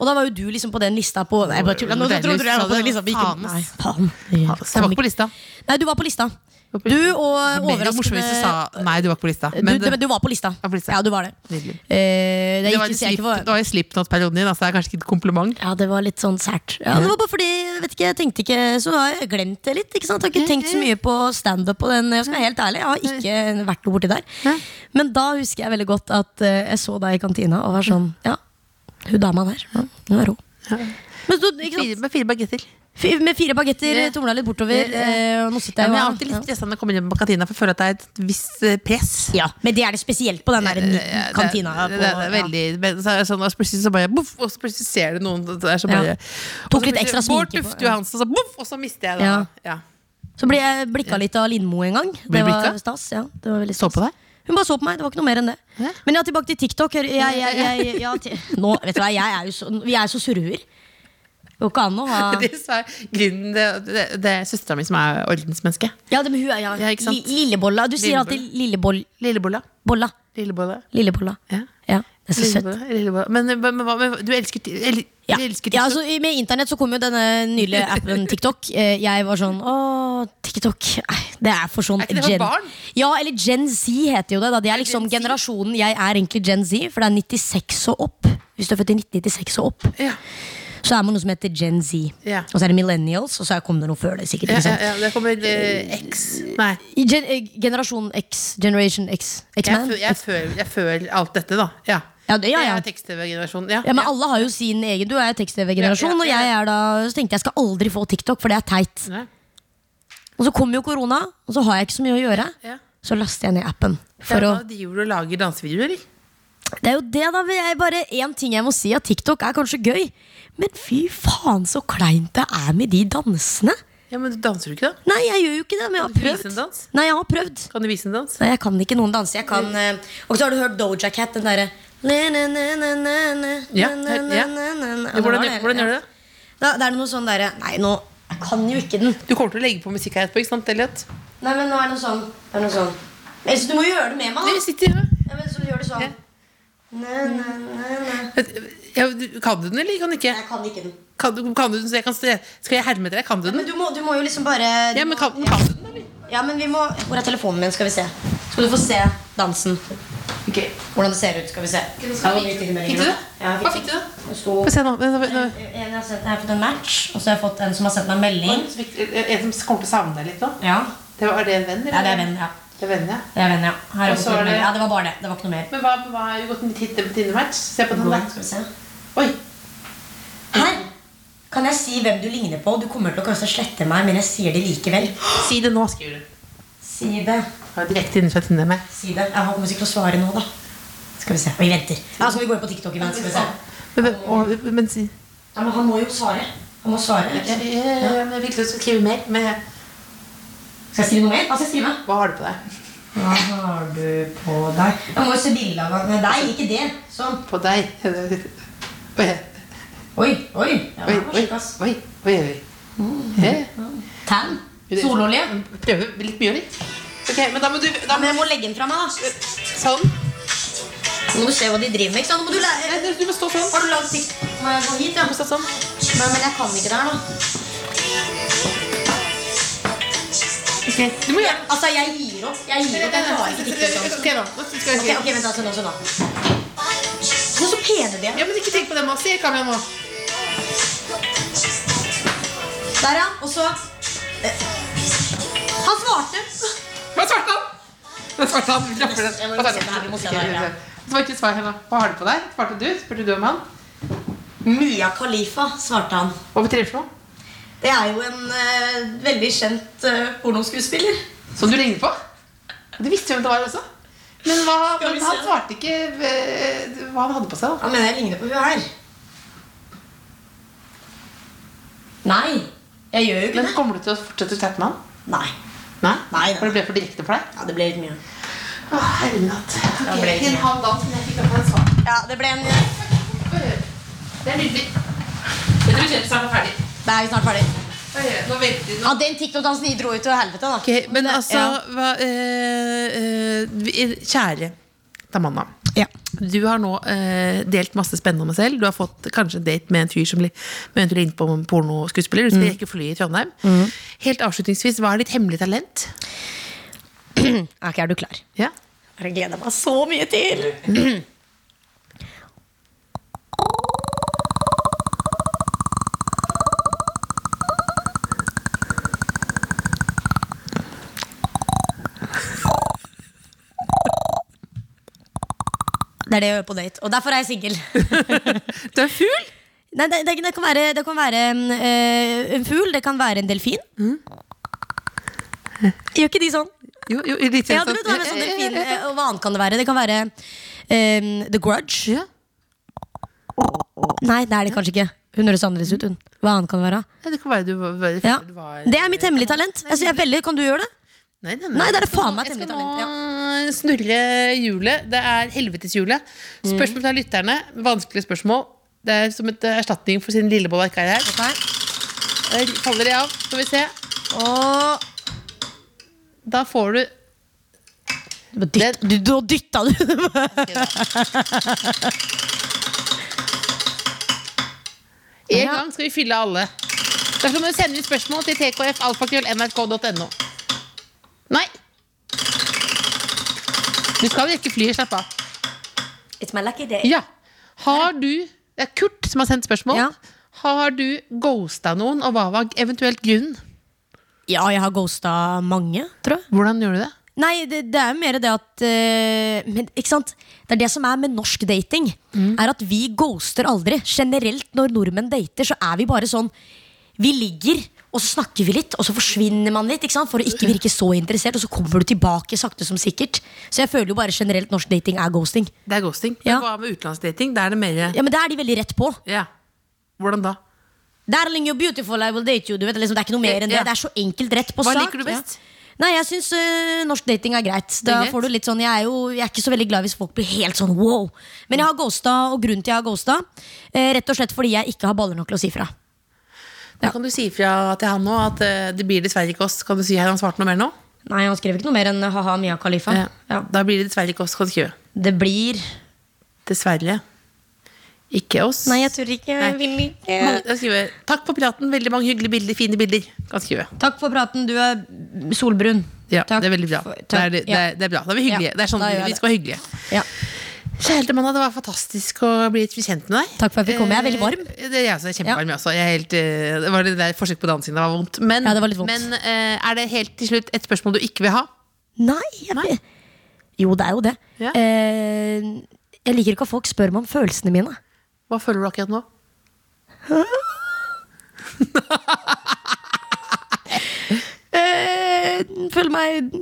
E: Og da var jo du liksom på den lista på Nei, jeg bare tuller. Nå
C: Hvor
E: trodde du jeg var på
C: deilig
E: den lista.
C: sa
E: vi
C: det.
E: ikke-
C: Faen,
E: Nei,
C: ass.
E: faen.
C: Jeg var ikke på lista.
E: Nei, du var på lista.
C: var på
E: Du og
C: Mer og morsomt hvis du
E: overraskende
C: sa nei, du var ikke på lista.
E: du,
C: Men
E: du,
C: det,
E: du var på lista.
C: var på lista.
E: Ja, du var det.
C: Nydelig.
E: Eh, det,
C: det
E: gikk,
C: var
E: ikke-
C: litt
E: jeg ikke var-
C: slip- det var i slipknot-perioden din, altså det er kanskje ikke et kompliment.
E: Ja, det var litt sånn sært. Ja, det var bare fordi, jeg vet ikke, jeg tenkte ikke Så har jeg glemt det litt. ikke sant? Jeg har ikke tenkt så mye på standup og den. Jeg skal være helt ærlig, jeg har ikke vært noe borti der. Men da husker jeg veldig godt at eh, jeg så deg i kantina og var sånn Ja, hun dama der, ja, hun er rå. Men så, ikke sant?
C: med fire bagetter.
E: Fi- Med fire bagetter, tomla litt bortover. eh, og nå sitter
C: Ja,
E: jeg
C: men
E: jo
C: jeg er
E: her,
C: alltid
E: da.
C: litt stressa når jeg kommer inn på kantina, for jeg føler at det er et visst eh, press.
E: ja. men det er det spesielt på den der
C: Det- det,
E: kantina.
C: det, det er
E: på- ja.
C: veldig men så er det sånn, og så plutselig så bare boff, og så plutselig ser du noen det er så
E: Ja.
C: bare,
E: Tok litt ekstra
C: Bård
E: sminke på-
C: Tufte Johansen, og så boff, og så mister jeg det.
E: Ja.
C: Ja.
E: Så ble jeg blikka litt av Lindmo en gang.
C: Ble
E: Det var
C: blikka?
E: stas. ja det var veldig
C: Så
E: stas.
C: på deg?
E: Hun bare så på meg. Det var ikke noe mer enn det.
C: Ja.
E: Men ja, tilbake til TikTok. Jeg, jeg, jeg, jeg, ja, ti- nå, vet du hva, jeg er jo så, Vi er jo så surruer. Det går ikke an å ha
C: Det, er grunnen, det, det, det er søstera mi som er ordensmenneske.
E: Ja, det, men hun er ja,
C: Ja, ikke sant?
E: li- Lillebolla. Du sier
C: Lillebolla.
E: alltid lilleboll...
C: Lillebolla.
E: Bolla.
C: Lillebolla.
E: Lillebolla.
C: Ja.
E: Ja, det er så søtt.
C: Lillebolla. Lillebolla. Men, men, men, hva- men du elsker, ti- eller,
E: Ja.
C: du elsker TikTok.
E: ja, altså, i- med internett så kom jo denne nydelige appen TikTok. Eh, Jeg var sånn Å, TikTok. Nei, Det er for sånn
C: Er ikke det for
E: Gen-
C: barn?
E: Ja, eller Gen Z heter jo det. Da. Det er liksom
C: Gen Z?
E: generasjonen Jeg er egentlig Gen Z, for det er 96 og opp. Hvis du er født i 1996 og opp,
C: Ja.
E: så er man noe som heter Gen Z.
C: Ja.
E: Og så er det millennials, og så kom det noe før det, sikkert.
C: Ja,
E: Ikke
C: ja,
E: sant?
C: ja, det kommer eh, X Nei.
E: I Gen eh, generasjon X, Generation X,
C: Jeg,
E: X-Man.
C: fø- jeg, føler, jeg føler alt dette, da. Ja.
E: Ja, det- ja, ja.
C: Jeg er tekst-TV-generasjon. Ja,
E: Ja, men
C: ja.
E: alle har jo sin egen. Du er
C: Ja,
E: tekst-TV-generasjon,
C: ja, ja.
E: og jeg er da Så tenkte jeg skal aldri få TikTok, for det er teit.
C: Nei.
E: Og så kom jo korona, og så har jeg ikke så mye å gjøre.
C: Ja.
E: Så laster jeg ned appen. For
C: For
E: å,
C: Da driver du og lager dansevideoer, eller?
E: det er jo det, da. vil Jeg bare Én ting jeg må si, at TikTok er kanskje gøy. Men fy faen så kleint det er med de dansene.
C: Ja, men danser du ikke, da?
E: Nei, jeg gjør jo ikke det, men jeg har
C: Kan du vise en
E: prøvd.
C: dans?
E: Nei, jeg har prøvd.
C: Kan du vise en dans?
E: Nei, jeg kan ikke noen danse. Jeg kan eh, Og så har du hørt Doja Cat, den derre
C: Ja,
E: Ja,
C: her- ja. Hvordan, hvordan gjør du det?
E: Da, det er noe sånn derre Nei, nå Jeg kan jo ikke den.
C: Du kommer til å legge på musikk her etterpå, ikke sant, Elliot?
E: Nei, men nå er det noe sånn. Det er noe sånn. Men, så du må jo gjøre det med meg,
C: Nei,
E: da.
C: jeg sitter her.
E: Ja, men så gjør du sånn. Næ, næ, næ, næ.
C: ja, du- Kan du den, eller kan du ikke?
E: Jeg kan ikke den.
C: Kan, du- kan du den, så jeg kan se? Skal jeg herme etter deg? Kan du
E: Men
C: den?
E: du må, du må jo liksom bare
C: Ja, men kan, kan du den, eller?
E: Ja, men vi må Hvor er telefonen min? Skal vi se. Skal du få se dansen.
C: Okay.
E: Hvordan det ser ut. Skal vi se.
C: Fikk du det?
E: Ja, jeg
C: Hva
E: fikk
C: fikk du, da?
E: det. Det sto-
C: Få se nå. nå, nå.
E: En jeg har sett, jeg har fått en match, og så har jeg fått en som har sendt meg en melding.
C: Så fikk du- En som kommer til å savne deg litt nå?
E: Ja,
C: Det var, er det en venn? eller?
E: ja det er venn, ja.
C: Det er venn, ja.
E: Det er venn, ja. Her har
C: Og
E: jeg
C: så
E: fått
C: er
E: en melding.
C: det-
E: ja, det var bare det. Det var ikke noe mer.
C: Men hva, hva har jo gått med Tinder på Tinder-match? Se på den der.
E: Skal vi se.
C: Oi!
E: Her kan jeg si hvem du ligner på. Du kommer til å kanskje slette meg, men jeg sier det likevel.
C: Si det nå, skriver du.
E: Si det.
C: Ja, direkte inne fra Tinder med.
E: Si det. Jeg kommer sikkert til å svare nå, da. Skal vi se. Vi venter. Ja, skal vi gå inn på TikTok imens? Skal vi se.
C: Men, men, og, men si
E: Ja, men han må jo svare. Han må svare.
C: jeg,
E: Skal
C: jeg, jeg, jeg fikk lyst til å skrive mer, men jeg-
E: jeg skrive noe mer? Hva skal jeg skrive?
C: hva har du på deg?
E: Hva har du på deg? Jeg må jo se bildet av han. Nei, deg, ikke det. Sånn.
C: På deg? Oi,
E: Oi, oi. Ja,
C: oi,
E: det var
C: oi.
E: slik, ass.
C: oi, oi, oi. Eh,
E: Tan. Sololje. Ja,
C: Prøve litt mye, eller? Ok, men da må du da
E: men
C: må,
E: jeg må legge den fra meg, da.
C: Sånn.
E: Nå må du se hva de driver med. ikke sant? Nå må du lære.
C: Nei, Du må stå sånn.
E: Har du lagd TikTok? Må jeg gå hit, ja?
C: Du må stå sånn.
E: Nei, men jeg kan ikke det her, da.
C: Du må gjøre
E: Altså, jeg gir opp. Jeg gir opp. Jeg klarer ikke TikTok.
C: Ok, nå. Nå skal
E: Ok,
C: jeg
E: ok,
C: skrive.
E: vent da, sånn da, sånn da. Nå, så pene de er.
C: Ja, men ikke tenk på det nå. Se i kameraet nå.
E: Der, ja. Og så Eh, Han svarte!
C: Hva svarte han? Hva svarte han? Vi klapper det.
E: Jeg må
C: Hva svarte
E: se det her,
C: han?
E: jeg må se det her, ja.
C: Det var ikke svar her nå. Hva har du på deg? Svarte du? Spurte du om han?
E: Mia Khalifa, svarte han.
C: Hva betyr det for noe?
E: Det er jo en eh, veldig kjent eh, pornoskuespiller.
C: Som du ligner på? Du visste jo hvem det var også. Men, hva,
E: Skal vi
C: men han
E: se.
C: svarte ikke eh, hva han hadde på seg. da
E: Han mener jeg ligner på hun her. Nei, jeg gjør jo ikke
C: Men
E: det.
C: Kommer du til å fortsette å chatte med han?
E: Nei.
C: Nei?
E: Nei, nei.
C: For det ble for direkte for deg?
E: Ja, det ble litt mye.
C: Å, herrenatt.
E: Ja, det ble ikke mye.
C: halv dag siden jeg fikk opp en sånn.
E: Ja, det ble en eh, Det
C: Det er nydelig. Jeg tror Kjell snart er ferdig.
E: er vi snart ferdig.
C: Nå venter vi
E: Ja, den TikTok-dansen de dro jo til helvete, da.
C: Ok, men
E: Det-
C: altså hva, eh, eh, vi- Kjære Tamanna.
E: Ja.
C: Du har nå eh, delt masse spennende om deg selv. Du har fått kanskje en date med en fyr som li- med eventuelt inn på en pornoskuespiller. Du skal
E: Mm.
C: rekke flyet i Trondheim. Helt avslutningsvis, hva er ditt hemmelige talent?
E: ja. Ok, er du klar?
C: Ja.
E: Jeg gleder meg så mye til. Det er det jeg gjør på date, og derfor er jeg singel.
C: Du er fugl!
E: Nei, det, det, det kan være, det kan være en, eh, en fugl, det kan være en delfin. Gjør ikke de sånn?
C: Jo, jo, litt
E: Ja, du vet hva med sånn delfin eh, Og hva annet kan det være? Det kan være eh, The Grudge.
C: Ja.
E: Nei, det er det kanskje ikke. Hun høres annerledes ut, hun. Hva annet kan det være?
C: Ja, det kan være du var, var,
E: Ja.
C: du var eh,
E: Det er mitt hemmelige talent. Altså, Jeg synes jeg er veldig, Kan du gjøre det?
C: Nei, nei,
E: Nei, det er det faen meg et
C: Jeg skal
E: hemmelig
C: nå
E: talent. Ja. Mm.
C: snurre hjulet. Det er helveteshjulet. Spørsmål fra lytterne. Vanskelige spørsmål. Det er som et eh, erstatning for sin lillebolla ikke er her. Der faller de av. Skal vi se.
E: Og
C: Da får du
E: du, dytt, du, du dytta du
C: En
E: Ja.
C: gang skal vi fylle alle. Derfor må du sende inn spørsmål til tkfalfakrøllnrk.no. Nei. Du skal rekke flyet. Slapp av.
E: It's my lucky day.
C: Ja. Har du Det er Kurt som har sendt spørsmål.
E: Ja.
C: Har du ghosta noen, og hva var eventuelt grunnen?
E: Ja, jeg har ghosta mange, tror jeg.
C: Hvordan gjorde du det?
E: Nei, det, det er jo mer det at eh, men, Ikke sant? Det er det som er med norsk dating.
C: Mm.
E: Er at vi ghoster aldri. Generelt når nordmenn dater, så er vi bare sånn Vi ligger, og så snakker vi litt, og så forsvinner man litt ikke sant? for å ikke virke så interessert. Og så kommer du tilbake sakte som sikkert. Så jeg føler jo bare generelt norsk dating er ghosting.
C: Det er ghosting.
E: Ja.
C: Men Hva med utenlandsdating? Da er det mer
E: Ja, Men da er de veldig rett på.
C: ja. Hvordan da?
E: Darling, you're beautiful, I will date you. Du vet, liksom, det er ikke noe mer enn det.
C: Ja.
E: Det er så enkelt rett på
C: Hva
E: sak.
C: liker du best?
E: Ja. Nei, jeg syns eh, norsk dating er greit. Da
C: Det er greit.
E: får du litt sånn, jeg er jo jeg er ikke så veldig glad hvis folk blir helt sånn wow. Men jeg har ghosta, og grunnen til jeg har ghosta, eh, rett og slett fordi jeg ikke har baller nok til å si fra.
C: Da kan du si fra til han nå at eh, det blir dessverre ikke oss. Kan du si at han svarte noe mer nå?
E: Nei, han skrev ikke noe mer enn ha-ha, Mia Khalifa.
C: Ja.
E: Ja.
C: Da blir det dessverre ikke oss. Kan du skrive.
E: Det blir
C: Dessverre. Ikke oss.
E: Nei, jeg tør ikke.
C: Nei.
E: Jeg vil ikke.
C: Mange- jeg skriver, Takk for praten. Veldig mange hyggelige bilder. Fine bilder. Kan skrive.
E: Takk for praten, du er solbrun.
C: Ja,
E: Takk
C: Det er veldig bra.
E: for-
C: det, er,
E: takk.
C: det, det, er, det er bra. Da er vi hyggelige.
E: Ja,
C: Det er sånn
E: da gjør jeg
C: vi
E: det.
C: skal være hyggelige.
E: Ja.
C: Kjære Tamanna, det var fantastisk å bli kjent med deg.
E: Takk for at jeg fikk komme. Jeg er veldig varm.
C: Eh, Det, jeg også er kjempevarm, jeg også. Jeg er helt, eh, det var det der forsøk på dansingen, det var vondt. Men,
E: Ja, det var litt vondt.
C: men eh, er det helt til slutt et spørsmål du ikke vil ha?
E: Nei, jeg,
C: Nei.
E: Jo, det er jo det.
C: Ja.
E: Eh, jeg liker ikke at folk spør meg om følelsene mine.
C: Hva føler du akkurat nå?
E: Eh, føler meg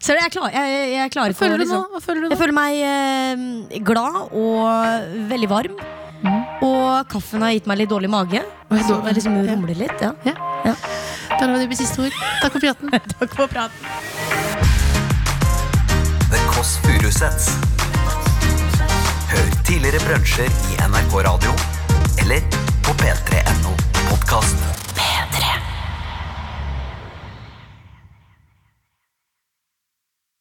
E: Ser du, jeg, er klar, jeg, jeg, jeg klarer ikke
C: Føler
E: å
C: du nå?
E: liksom-
C: Hva føler du
E: Jeg
C: nå?
E: føler meg eh, glad og veldig varm. Og kaffen har gitt meg litt dårlig mage.
C: Mhm. Oi,
E: Så
C: dårlig.
E: det liksom
C: Ja.
E: rumler litt. Ja.
C: Ja.
E: Ja.
C: Da lar vi det bli siste ord. Takk for praten.
E: Takk for praten.
B: The Kåss Furuseths. Hør tidligere brunsjer i NRK Radio eller